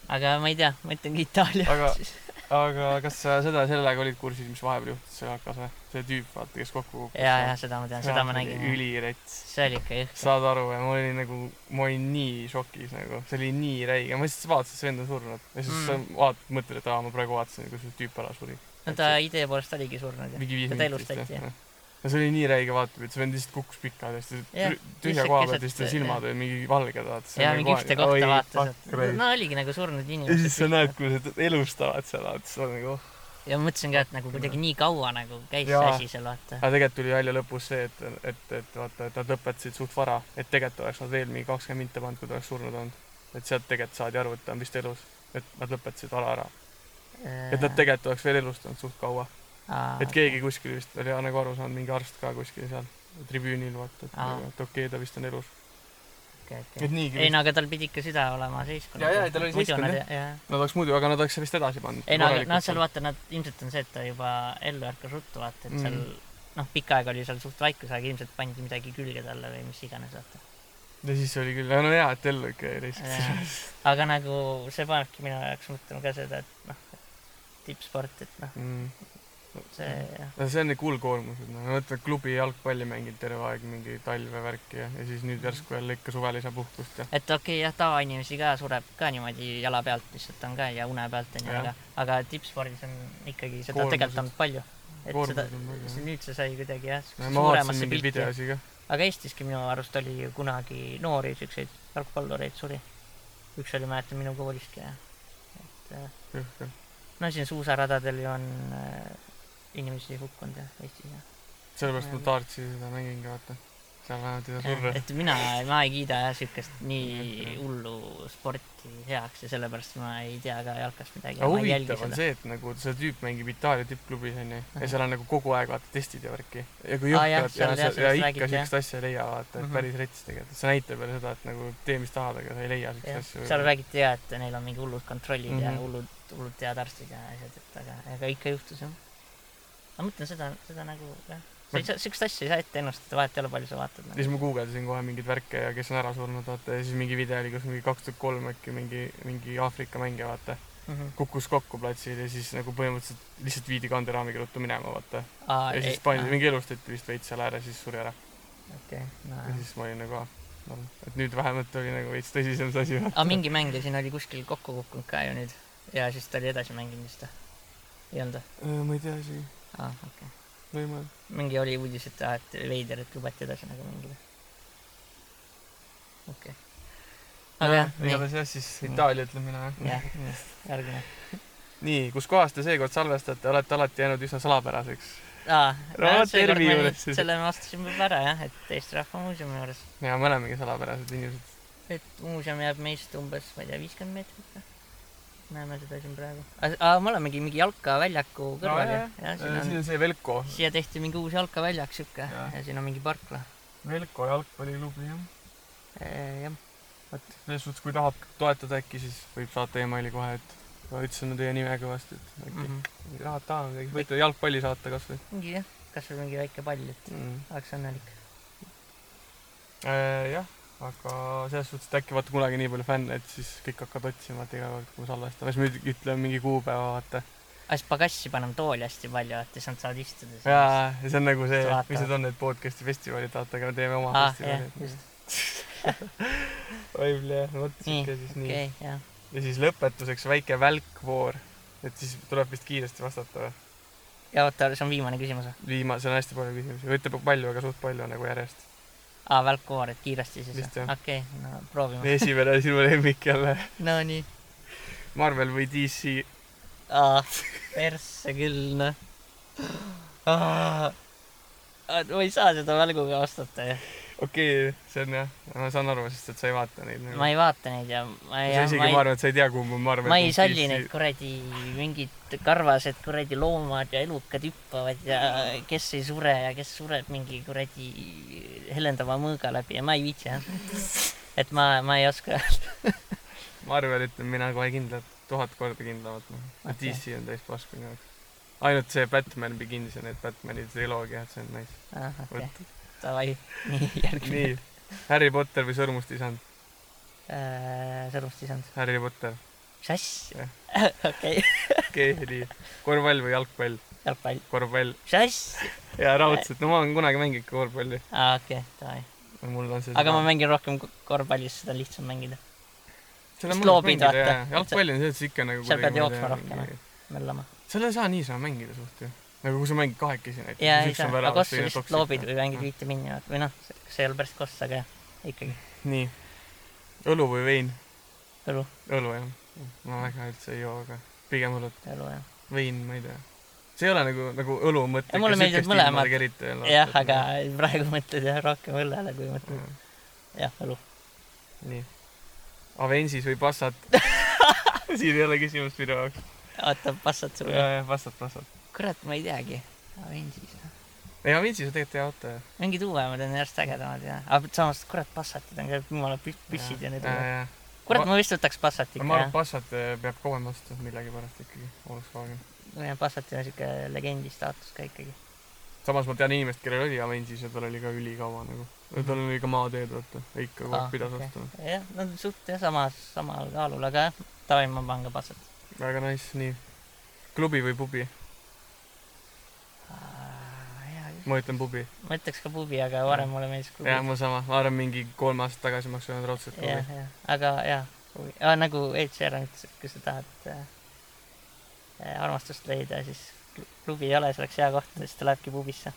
S2: aga ma ei tea , ma ütlengi Itaalia
S1: Aga-
S2: siis .
S1: aga kas sa seda , sellega olid kursis , mis vahepeal juhtus seal AK-s või ? see tüüp , vaata , kes kokku kukkus .
S2: ja , ja seda ma tean , seda ma nägin .
S1: ülirets .
S2: see oli ikka jõhker .
S1: saad aru , ja ma olin nagu , ma olin nii šokis nagu , see oli nii räige , ma lihtsalt vaatasin , et see vend on surnud . ja siis sa
S2: Mm.
S1: vaatad , mõtled , et aa , ma praegu vaatasin , kuidas see tüüp ära suri .
S2: no ta idee poolest oligi surnud ju .
S1: mingi viis
S2: Teda
S1: minutit
S2: elustati,
S1: vist
S2: jah.
S1: jah . no see oli nii räige vaatepilt , see vend lihtsalt kukkus pikali ,
S2: Jah,
S1: siis tühja
S2: lihtsalt
S1: koha pealt
S2: keset-
S1: lihtsalt tal silmad olid mingi valged , vaata .
S2: ja mingi ühte kohta vaatas , et
S1: no, .
S2: no oligi nagu surnud
S1: ja siis sa näed ,
S2: inimesed .
S1: kuidas nad elustavad seal , vaata , siis on nagu oh. .
S2: ja ma mõtlesin ka , et nagu kuidagi nii kaua nagu käis see
S1: Jaa.
S2: asi seal vaata .
S1: aga tegelikult tuli välja lõpus see , et , et , et vaata , et nad lõpetasid suht vara , et tegelikult oleks nad veel mingi kakskümmend minta pannud , kui ta oleks surnud olnud . et sealt tegelikult saadi aru , et ta on vist elus . et nad lõpetasid vara ära . et
S2: Äh,
S1: nad tegelikult oleks veel elustanud suht kaua . et keegi kuskil vist oli jah, nagu aru saanud , mingi arst ka kuskil seal tribüünil vaata , et,
S2: Aa.
S1: nagu, et okei okay, , ta vist on elus . et
S2: et
S1: niigi
S2: ei no aga tal pidi ikka süda olema seiskunud .
S1: Jaa, jaa, tal oli seiskunud, jah.
S2: jah .
S1: Nad oleks muidu , aga nad oleks vist edasi pannud .
S2: ei no aga noh , seal vaata nad ilmselt on see , et ta juba ellu ärkas ruttu vaata , et seal
S1: Mm.
S2: noh , pikka aega oli seal suht vaikus , aga ilmselt pandi midagi külge talle või mis iganes vaata .
S1: ja siis oli küll , no hea , et ellu ikka ei
S2: Jaa.
S1: riskinud .
S2: aga nagu see panebki minu jaoks mõtlema ka seda , et noh , tippsport , et noh , see jah ,
S1: no Mm. see on nii hull koormus , et noh , mõtled klubi jalgpalli mänginud terve aeg mingi talve värki ja , ja siis nüüd järsku jälle ikka suvel ei saa puhkust ja .
S2: et okei okay, jah , tavainimesi ka sureb ka niimoodi jala pealt lihtsalt on ka ja une pealt onju ,
S1: Jah.
S2: aga , aga tippspordis on ikkagi seda
S1: Koormused.
S2: tegelikult on palju . et seda
S1: koormus on
S2: see
S1: palju .
S2: nüüd see sai kuidagi jah ,
S1: ma vaatasin
S2: suuremasse
S1: mingi
S2: pilti ,
S1: videosi ka .
S2: aga Eestiski minu arust oli ju kunagi noori siukseid jalgpallureid suri . üks oli , mäletan minu koolistki ja , et äh,
S1: jõhker .
S2: no siin suusaradadel ju on äh, inimesi hukkunud ja Eestis ja .
S1: sellepärast ma Tartsi seda mängin ka , vaata . seal vähemalt ei saa surra .
S2: et mina , ma ei kiida jah siukest nii hullu sporti heaks ja sellepärast ma ei tea ka jalkast midagi .
S1: aga huvitav on . see , et nagu see tüüp mängib Itaalia tippklubis onju ja seal on nagu kogu aeg vaata testid ja värki . ja kui
S2: Aa, jah,
S1: jõhkrad ja,
S2: seal- jah,
S1: ja, ja
S2: sellest
S1: ikka
S2: räägiti,
S1: siukest asja ei leia vaata , et
S2: Mhm.
S1: päris rets tegelikult , see näitab jälle seda , et nagu tee mis tahad , aga sa ei leia siukseid asju .
S2: seal räägiti ja , et neil on mingi hullud kontrollid mm -hmm. ja
S1: Mhm.
S2: hullud , hullud head arstid ja asjad , et aga , aga ikka juhtus jah . ma mõtlen seda , seda nagu jah , sa ei saa , siukest asja ei saa ette ennustada , vahet ei ole , palju sa vaatad
S1: ja
S2: nagu. .
S1: siis ma guugeldasin kohe mingeid värke ja kes on ära surnud vaata ja siis mingi video oli , kus mingi kaks tuhat kolm äkki mingi , mingi Aafrika mängija vaata
S2: Mm -hmm.
S1: kukkus kokku platsil ja siis nagu põhimõtteliselt lihtsalt viidi kanderaamiga ruttu minema vaata .
S2: Aa,
S1: ja siis pandi , mingi elustati vist veits seal ääres , siis suri ära .
S2: okei , no
S1: ja siis ma olin nagu ah, no, et nüüd vähemalt oli nagu veits tõsisem see asi .
S2: aga mingi mängija siin oli kuskil kokku kukkunud ka ju nüüd ja siis ta oli edasi mänginud vist või ? ei olnud või ?
S1: Äh, ma ei tea isegi ,
S2: aa , okei okay. .
S1: võimalik .
S2: mingi oli uudis , et aa , et veider , et lubati edasi nagu mängida . okei okay. . aga jah , nii ,
S1: igatahes jah , siis Itaalia ütlen mina jah .
S2: jah , järgmine .
S1: nii , kuskohas te seekord salvestate , olete alati jäänud üsna salapäraseks ?
S2: aa ,
S1: Ramat Tervi juures siis.
S2: selle ma vastasin juba ära jah , et Eesti Rahva Muuseumi juures .
S1: ja me olemegi salapärased inimesed .
S2: et muuseum jääb meist umbes , ma ei tea , viiskümmend meetrit või ? näeme seda siin praegu . aa , me olemegi mingi jalkaväljaku kõrval ju
S1: jajah. .
S2: jah , Äh, siin on
S1: Äh, siin on see Velko ,
S2: siia tehti mingi uus jalkaväljak siuke ja.
S1: Jah.
S2: ja siin on mingi noh. parkla .
S1: Velko jalgpalliklubi jah
S2: Äh, jah ,
S1: selles suhtes , kui tahab toetada äkki , siis võib saata emaili kohe , et ma ütlesin teie nime kõvasti , et äkki mm
S2: mingi
S1: -hmm. tahad , tahad midagi , võite jalgpalli saata kasvõi
S2: jah , kasvõi mingi väike pall , et
S1: mm. .
S2: oleks õnnelik .
S1: Äh, jah , aga selles suhtes , et äkki vaata kunagi nii palju fänne , et siis kõik hakkavad otsima , et iga kord , kui me salvestame , siis me üt- ütleme mingi kuupäeva , vaata .
S2: aga siis pagassi paneme tooli hästi palju , et siis nad saavad istuda Ah,
S1: ja , ja see on nagu see
S2: Siis , vaatavad.
S1: mis need on need podcast'i festivalid , vaata , aga me teeme oma
S2: Ah, jah,
S1: festivali . võib-olla jah , vot
S2: Nii,
S1: siuke siis nii .
S2: okei , jah .
S1: ja siis lõpetuseks väike välkvoor , et siis tuleb vist kiiresti vastata või ?
S2: ja oota , see on viimane küsimus või ?
S1: viimase , see on hästi palju küsimusi , ütleb palju , aga suht palju nagu järjest .
S2: aa , välkkoor , et kiiresti siis
S1: Vist
S2: või ?
S1: jah.
S2: okei , no proovime .
S1: esimene sinu lemmik jälle ,
S2: Nonii .
S1: Marvel või DC ?
S2: aa , Ah, persse küll , noh . ma ei saa seda välguga vastata , jah .
S1: okei okay, , see on jah , ma saan aru , sest et sa ei vaata neid nagu .
S2: ma ei vaata neid ja ma ei .
S1: sa isegi , ma arvan , et sa ei tea , kumb on Marvel .
S2: ma ei salli neid . kuradi mingid karvased kuradi loomad ja elukad hüppavad ja kes ei sure ja kes sureb mingi kuradi helendava mõõga läbi ja ma ei viitsi jah . et ma , ma ei oska öelda .
S1: Marvel ütlen mina kohe kindlalt , tuhat korda kindlamalt noh okay. .
S2: Okei.
S1: DC on täis pask minu jaoks . ainult see Batman Begins ja need Batmani triloogiad , see on nice .
S2: Ah, okei , davai , nii järgmine .
S1: nii , Harry Potter või Sõrmuste isand ?
S2: Äh, sõrmustisand ,
S1: Harry Potter .
S2: mis asja ? okei ,
S1: okei okay, , nii . korvpall või jalgpall ?
S2: jalgpall ,
S1: korvpall .
S2: mis asja ?
S1: jaa , raudselt . no ma olen kunagi mänginud ka korvpalli .
S2: aa , Ah, okei , davai .
S1: mul on see .
S2: aga ma mängin rohkem ko- korvpallis , seda on lihtsam mängida ,
S1: mängin
S2: vist loobid, vaata.
S1: jalgpalli on see , et sa ikka nagu
S2: Seal pead
S1: kuidagi, ma ei
S2: jooksma
S1: tea,
S2: rohkem,
S1: mingi-
S2: möllama .
S1: seal ei saa niisama mängida suht ju . nagu kui sa mängid kahekesi näiteks .
S2: jaa , ei saa , aga kossu lihtsalt loobid või
S1: Mm.
S2: mängid viite minni või noh , see ei ole päris koss , aga jah , ikkagi
S1: nii . õlu või vein ?
S2: õlu ,
S1: õlu jah . ma väga üldse ei joo , aga pigem õlut .
S2: õlu jah .
S1: vein , ma ei tea . see ei ole nagu , nagu õlu mõte .
S2: Ei, mulle meeldivad mõlemad. jah , aga praegu mõtled jah rohkem õllele , kui mõtled
S1: Mm.
S2: jah , õlu .
S1: nii . Avensis või Passat ? siin ei ole küsimust minu jaoks .
S2: oota , passad sulle ?
S1: jajah , Passat , Passat .
S2: kurat , ma ei teagi . Avensis .
S1: ei , Avensis on tegelikult hea auto ju .
S2: mingid uuemad on järjest ägedamad ja , aga samas kurat , passatid on ka jumala pü- püssid ja need uued .
S1: uued .
S2: kurat ,
S1: Ma-
S2: ma vist võtaks passat
S1: ma
S2: ikka
S1: arvan , et Passat eh, peab kauem vastu millegipärast ikkagi , Volkswagen .
S2: jah . passatil on siuke legendi staatus ka ikkagi .
S1: samas ma tean inimest , kellel oli Avensis ja tal oli ka ülikaua nagu . tal oli ka maateed , vaata . ikka kogu
S2: Ah,
S1: aeg pidas ostma .
S2: jah , nad on suht jah , samas , samal kaalul , aga jah , davai , ma panen ka passat .
S1: väga nice , nii . klubi või pubi ? ma ütlen pubi .
S2: ma ütleks ka pubi , aga varem mulle meeldis klubi .
S1: jah , mul sama . ma arvan , mingi kolm aastat tagasi ma oleks öelnud raudselt
S2: jah
S1: klubi .,
S2: jah , aga jah , huvi , nagu Ed Sheeran ütles , et kui sa tahad äh, äh, armastust leida , siis kl- klubi ei ole , see oleks hea koht , siis ta lähebki pubisse .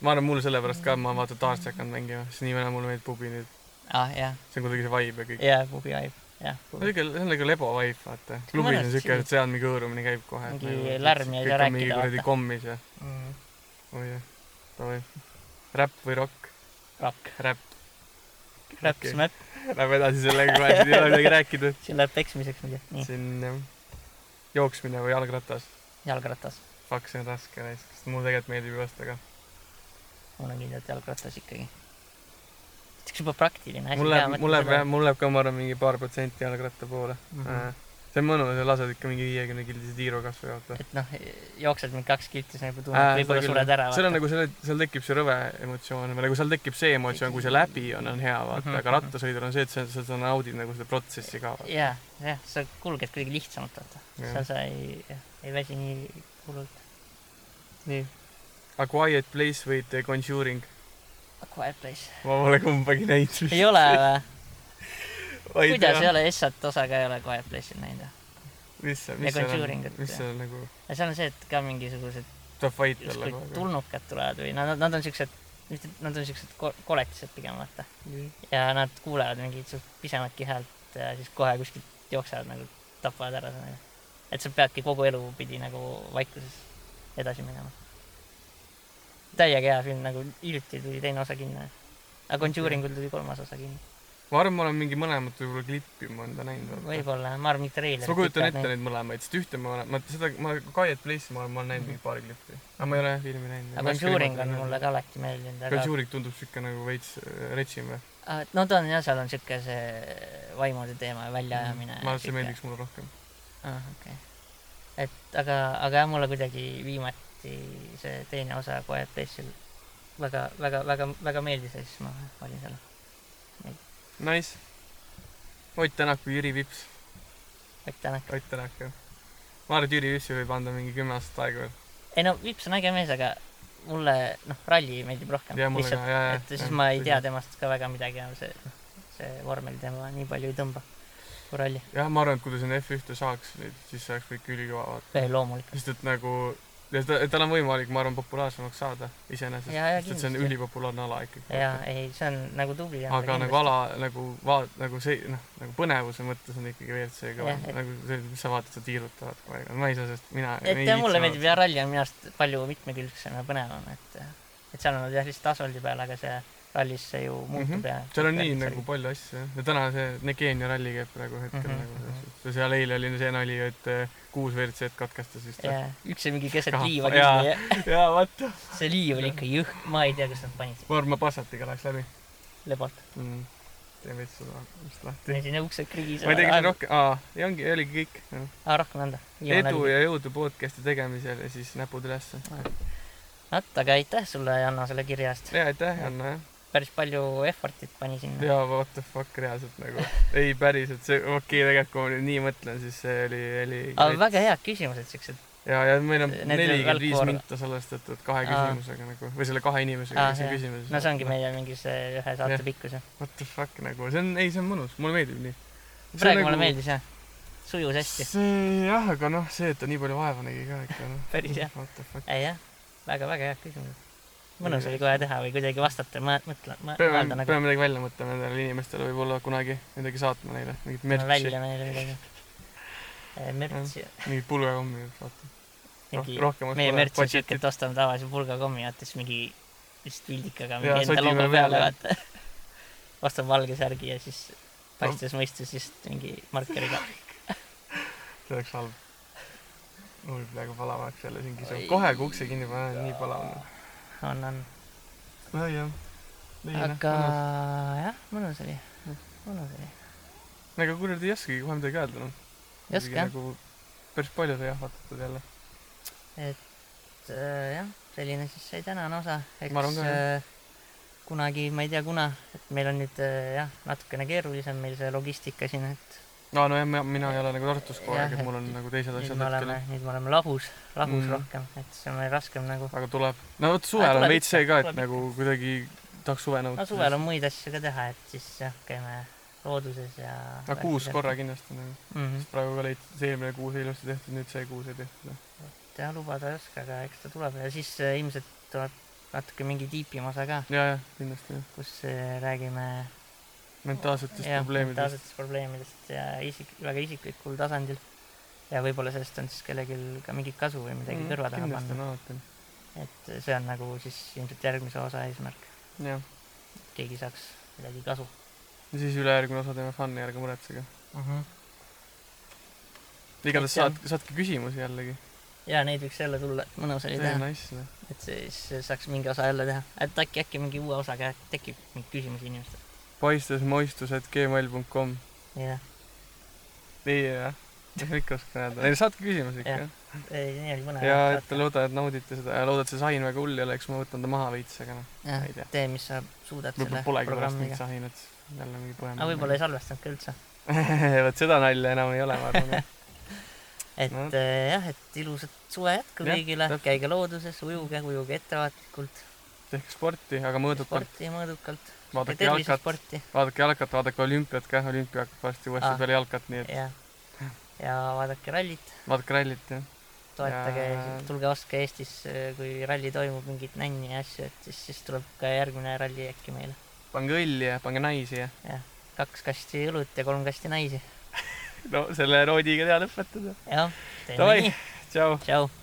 S1: ma arvan , mul sellepärast ka , ma vaata taarsi hakanud mängima , sest nii väga mulle meeldib pubi nüüd .
S2: ah jah ,
S1: see on kuidagi see vibe ja kõik .
S2: ja pubi vibe , jah .
S1: siuke , see on nagu lebo vibe , vaata . klubis on
S2: mõned
S1: siuke ,
S2: chill'id.
S1: et seal mingi hõõrumine käib kohe . Nagu,
S2: Mingi lärm ja ei saa rääkida,
S1: mingi kuradi
S2: vaata.
S1: kommis ja ,
S2: Mm,
S1: oi jah , davai . räpp või rokk ?
S2: rock ,
S1: räpp .
S2: räpp , siis . mäpp ,
S1: Lähme edasi sellega kohe , siin ei ole midagi rääkida .
S2: siin läheb peksmiseks muidu , nii ,
S1: siin jah , jooksmine või jalgratas .
S2: jalgratas .
S1: Fuck , see on raske näis , sest mulle tegelikult meeldib joosta ka .
S2: mul on kindlalt jalgratas ikkagi . üks juba praktiline asi .
S1: mul läheb , mul läheb jah ,. mul läheb ka , ma arvan , mingi paar protsenti jalgratta poole mm .
S2: Mhm.
S1: -hmm. see on mõnus , sa lased ikka mingi viiekümne kildise tiiru kasvõi vaata .
S2: et noh , jooksed mingi kaks kilti , siis nagu tunned , võib-olla sured ära .
S1: seal on nagu selle , seal tekib see rõve emotsioon või nagu seal tekib see emotsioon , kui see läbi on , on hea vaata mm ,
S2: Mhm,
S1: -hmm. aga rattasõidul on see , et sa , sa , sa naudid nagu seda protsessi ka .
S2: jaa , jah , sa kulged kuidagi lihtsamalt , vaata . seal sa ei , ei väsi nii hullult .
S1: nii . A Quiet Place või The Conjuring ?
S2: A Quiet Place .
S1: ma pole kumbagi näinud
S2: ei ole või ? kuidas ei ? ole Essat osa ka ei ole Quiet Place'il näinud või ?
S1: mis see ,
S2: The
S1: mis see on
S2: Conjuring, , et-
S1: mis see on nagu ,
S2: aga seal on see , et ka mingisugused
S1: tuleb vait olla
S2: justkui
S1: kogu aeg .
S2: tulnukad tulevad või nad , nad on siuksed , mitte , nad on siuksed ko- koletised pigem , vaata . ja nad kuulevad mingit suht pisematki häält ja siis kohe kuskilt jooksevad nagu , tapavad ära selle . et sa peadki kogu elu pidi nagu vaikuses edasi minema . täiega hea film , nagu hiljuti tuli teine osa kinno . aga Conjuringul tuli kolmas osa kinno .
S1: ma arvan , ma olen mingi mõlemat võib-olla klippi mõnda näinud .
S2: võib-olla , ma arvan , mitte reiler .
S1: sest ma kujutan ette neid mõlemaid , sest ühte ma olen , ma seda , ma Quiet Place'i ma olen , ma olen näinud mingi paari klippi . aga ma ei ole jah filmi näinud .
S2: aga Conjuring on mulle ka alati meeldinud , aga
S1: Conjuring tundub siuke nagu veits äh, retsim või ?
S2: Ah, no ta on jah , seal on siuke see vaimude teema ja väljaajamine .
S1: ma arvan , et see meeldiks Mm, mulle rohkem .
S2: ah, . okei okay. . et aga , aga jah , mulle kuidagi viimati see teine osa Quiet Place'il väga , väga , väga , väga meeldis ja siis ma valin selle .
S1: Nice . Ott Tänak või Jüri Vips ?
S2: Ott Tänak .
S1: Ott Tänak jah . ma arvan , et Jüri Vipsi võib anda mingi kümme aastat aega veel .
S2: ei no Vips on äge mees , aga mulle noh , ralli meeldib rohkem .
S1: ja mulle ka , ja , ja .
S2: et siis ma ei tea . temast ka väga midagi enam , see , see vormel tema nii palju ei tõmba kui ralli .
S1: jah , ma arvan , et kui ta sinna F1-te saaks nüüd , siis see oleks kõik ülikõva vaata .
S2: loomulikult .
S1: sest et nagu , ja ta , tal on võimalik , ma arvan , populaarsemaks saada iseenesest .
S2: Jaa, jaa,
S1: sest et see on
S2: kindlasti.
S1: ülipopulaarne ala ikkagi .
S2: ja ei , see on nagu tubli .
S1: aga nagu ala nagu vaat- nagu see noh nagu põnevuse mõttes on ikkagi WRC kõva
S2: Jah, et-
S1: nagu see mis sa vaatad sa tiirutavad kogu aeg ma ei saa sellest mina
S2: et jah , mulle meeldib jah , ralli on minu arust palju mitmekülgsem ja põnevam , et et seal on nad jah , lihtsalt asfaldi peal , aga see rallis see ju muutub mm
S1: Mhm.
S2: -hmm. ja
S1: seal on nii nagu palju asju jah ja täna see Negeenia ralli käib praegu hetkel
S2: Mhm,
S1: mm -hmm.
S2: mhm.
S1: nagu see seal eile oli see nali et eh, kuus WRC-d katkestas vist
S2: jaa , üks oli mingi keset
S1: Kah-
S2: liiva
S1: jaa.
S2: kinni ja
S1: jaa vaata
S2: see liiv oli ikka jõhk , ma ei tea , kas nad panid
S1: ma arvan ma Passatiga läheks läbi
S2: lebalt ,
S1: mm. teen veits seda vist lahti
S2: meil siin uksed krigisevad .
S1: ma ei tea kas on rohkem aa ja ongi oligi kõik jah.
S2: rohkem . rohkem ei anda .
S1: edu ja jõudu podcast'i tegemisel ja siis näpud ülesse
S2: vot , aga aitäh sulle , Janno , selle kirja eest .
S1: ja aitäh Anna jah
S2: päris palju effort'it pani sinna .
S1: jaa , what the fuck reaalselt nagu , ei päriselt , see , okei okay, , tegelikult kui ma nüüd nii mõtlen , siis see oli , oli
S2: aga väga head küsimused siuksed .
S1: ja , ja meil on
S2: Need
S1: nelikümmend viis
S2: jalgkoor-
S1: minta sellest , et , et kahe
S2: Aa.
S1: küsimusega nagu või selle kahe inimesega
S2: Aa,
S1: ah, siin
S2: jah.
S1: küsimuses .
S2: no see ongi . meie mingi see ühe saate
S1: Jah.
S2: pikkus jah .
S1: What the fuck nagu , see on , ei , see on mõnus , mulle meeldib nii .
S2: praegu
S1: nagu-
S2: mulle meeldis jah . sujus hästi .
S1: see jah , aga noh , see , et ta nii palju vaeva nägi ka ikka noh .
S2: Päris hea.
S1: What the fuck .
S2: ei jah , väga-väga head küsimused . mõnus oli kohe teha või kuidagi vastata , ma mõtlen , ma
S1: peame ,
S2: mõelda nagu
S1: peame midagi välja mõtlema nendele inimestele võib-olla kunagi , midagi saatma neile , mingit
S2: no,
S1: mertsi ,
S2: välja meile midagi . mürtsi ,
S1: mingit pulgakommi , vaata .
S2: mingi
S1: Noh, rohkem
S2: meie mürts on siuke , et ostame tavalise pulgakommi , vaata siis mingi vist vildikaga
S1: Jaa,
S2: mingi enda
S1: sotime
S2: logo peale
S1: peale.
S2: vaata . ostab valge särgi ja siis paistes
S1: Noh.
S2: mõistes vist mingi markeriga .
S1: see oleks halb . mul praegu palav oleks jälle siin kisu
S2: Oi. .
S1: kohe kui ukse kinni panen , nii palav on .
S2: on , on .
S1: nojah . noh,
S2: aga jah , mõnus oli , mõnus oli .
S1: ega kuradi ei oskagi kohe midagi öelda , noh .
S2: Ei oska, jah.
S1: nagu päris palju sai jahvatatud jälle .
S2: et äh, jah , selline siis sai tänane osa . eks
S1: Ma arvan ka, jah.
S2: äh, kunagi , ma ei tea , kuna , et meil on nüüd äh, jah , natukene keerulisem meil see logistika siin , et
S1: aa , nojah , mina ei ole nagu Tartus kogu aeg ,
S2: Jah,
S1: et mul on nagu teised
S2: nüüd
S1: asjad
S2: me
S1: hetkel
S2: oleme , nüüd me oleme lahus , lahus
S1: Mm.
S2: mm. rohkem , et see on meil raskem nagu .
S1: aga tuleb . no vot , suvel on
S2: tuleb
S1: veits
S2: ikka,
S1: see ka , et
S2: tuleb
S1: nagu kuidagi tahaks nagu- suve
S2: no
S1: nautida .
S2: suvel on muid asju ka teha , et siis jah , käime looduses ja .
S1: aga kuus korra kindlasti on nagu .
S2: mm . -hmm.
S1: sest praegu ka leidsid , see eelmine kuu sai ilusti tehtud , nüüd see kuu sai tehtud . noh.
S2: jah , lubada ei oska , aga eks ta tuleb ja siis äh, ilmselt tuleb natuke mingi tiipim osa ka ,
S1: ja , ja kindlasti jah .
S2: kus äh, räägime
S1: mentaalsetest
S2: jah ,
S1: probleemidest .
S2: mentaalsetest probleemidest ja isik , väga isiklikul tasandil . ja võib-olla sellest on siis kellelgi ka mingit kasu või midagi mm, kõrva taha
S1: kindlasti
S2: panna .
S1: on alati .
S2: et see on nagu siis ilmselt järgmise osa eesmärk ,
S1: jah .
S2: et keegi saaks midagi kasu
S1: ja siis ülejärgmine osa teeme fun'i , ärge muretsege .
S2: uh .
S1: Mhm.
S2: -huh.
S1: igatahes
S2: Aitäh.
S1: saad , saadki küsimusi jällegi .
S2: ja neid võiks jälle tulla , et mõnus oli
S1: see on
S2: teha ,
S1: nice . noh.
S2: et siis saaks mingi osa jälle teha , et äkki , äkki mingi uue osaga tekib mingeid küsimusi inimestel .
S1: paistesmoistused.gmail.com
S2: jah ,
S1: ei , jah . mis ma ikka oskan öelda . ei , saatke küsimusi ikka
S2: Jah. . nii oli põnev .
S1: ja et loodan , et naudite seda ja loodan , et see sahin väga hull ei ole , eks ma võtan ta maha veits , aga noh . ma ei tea.
S2: tee , mis sa suudad selle
S1: võib-olla polegi pärast
S2: programmiga
S1: mingit . sahinat . jälle mingi põem .
S2: aga võib-olla ei salvestanud ka üldse .
S1: vot seda nalja enam ei ole , ma arvan .
S2: et
S1: No.
S2: no. jah , et ilusat suve jätku
S1: Jah,
S2: kõigile
S1: täpselt. ,
S2: käige looduses , ujuge , ujuge ettevaatlikult ,
S1: tehke sporti , aga mõõdukalt .
S2: sporti ja mõõdukalt ,
S1: vaadake jalkat ,
S2: tervisesporti
S1: vaadake jalkat , vaadake olümpiat ka , olümpia hakkab varsti uuesti
S2: Ah.
S1: ah. peale jalkat , nii et
S2: ja , ja vaadake rallit ,
S1: vaadake rallit jah .
S2: toetage
S1: Ja- ,
S2: tulge ostke Eestis , kui ralli toimub , mingeid nänni ja asju , et siis , siis tuleb ka järgmine ralli äkki meile .
S1: pange õlli ja pange naisi ja
S2: kaks kasti õlut ja kolm kasti naisi .
S1: no selle noodiga teha lõpetada .
S2: jah , teeme
S1: Davai.
S2: nii ,
S1: tšau .
S2: tšau .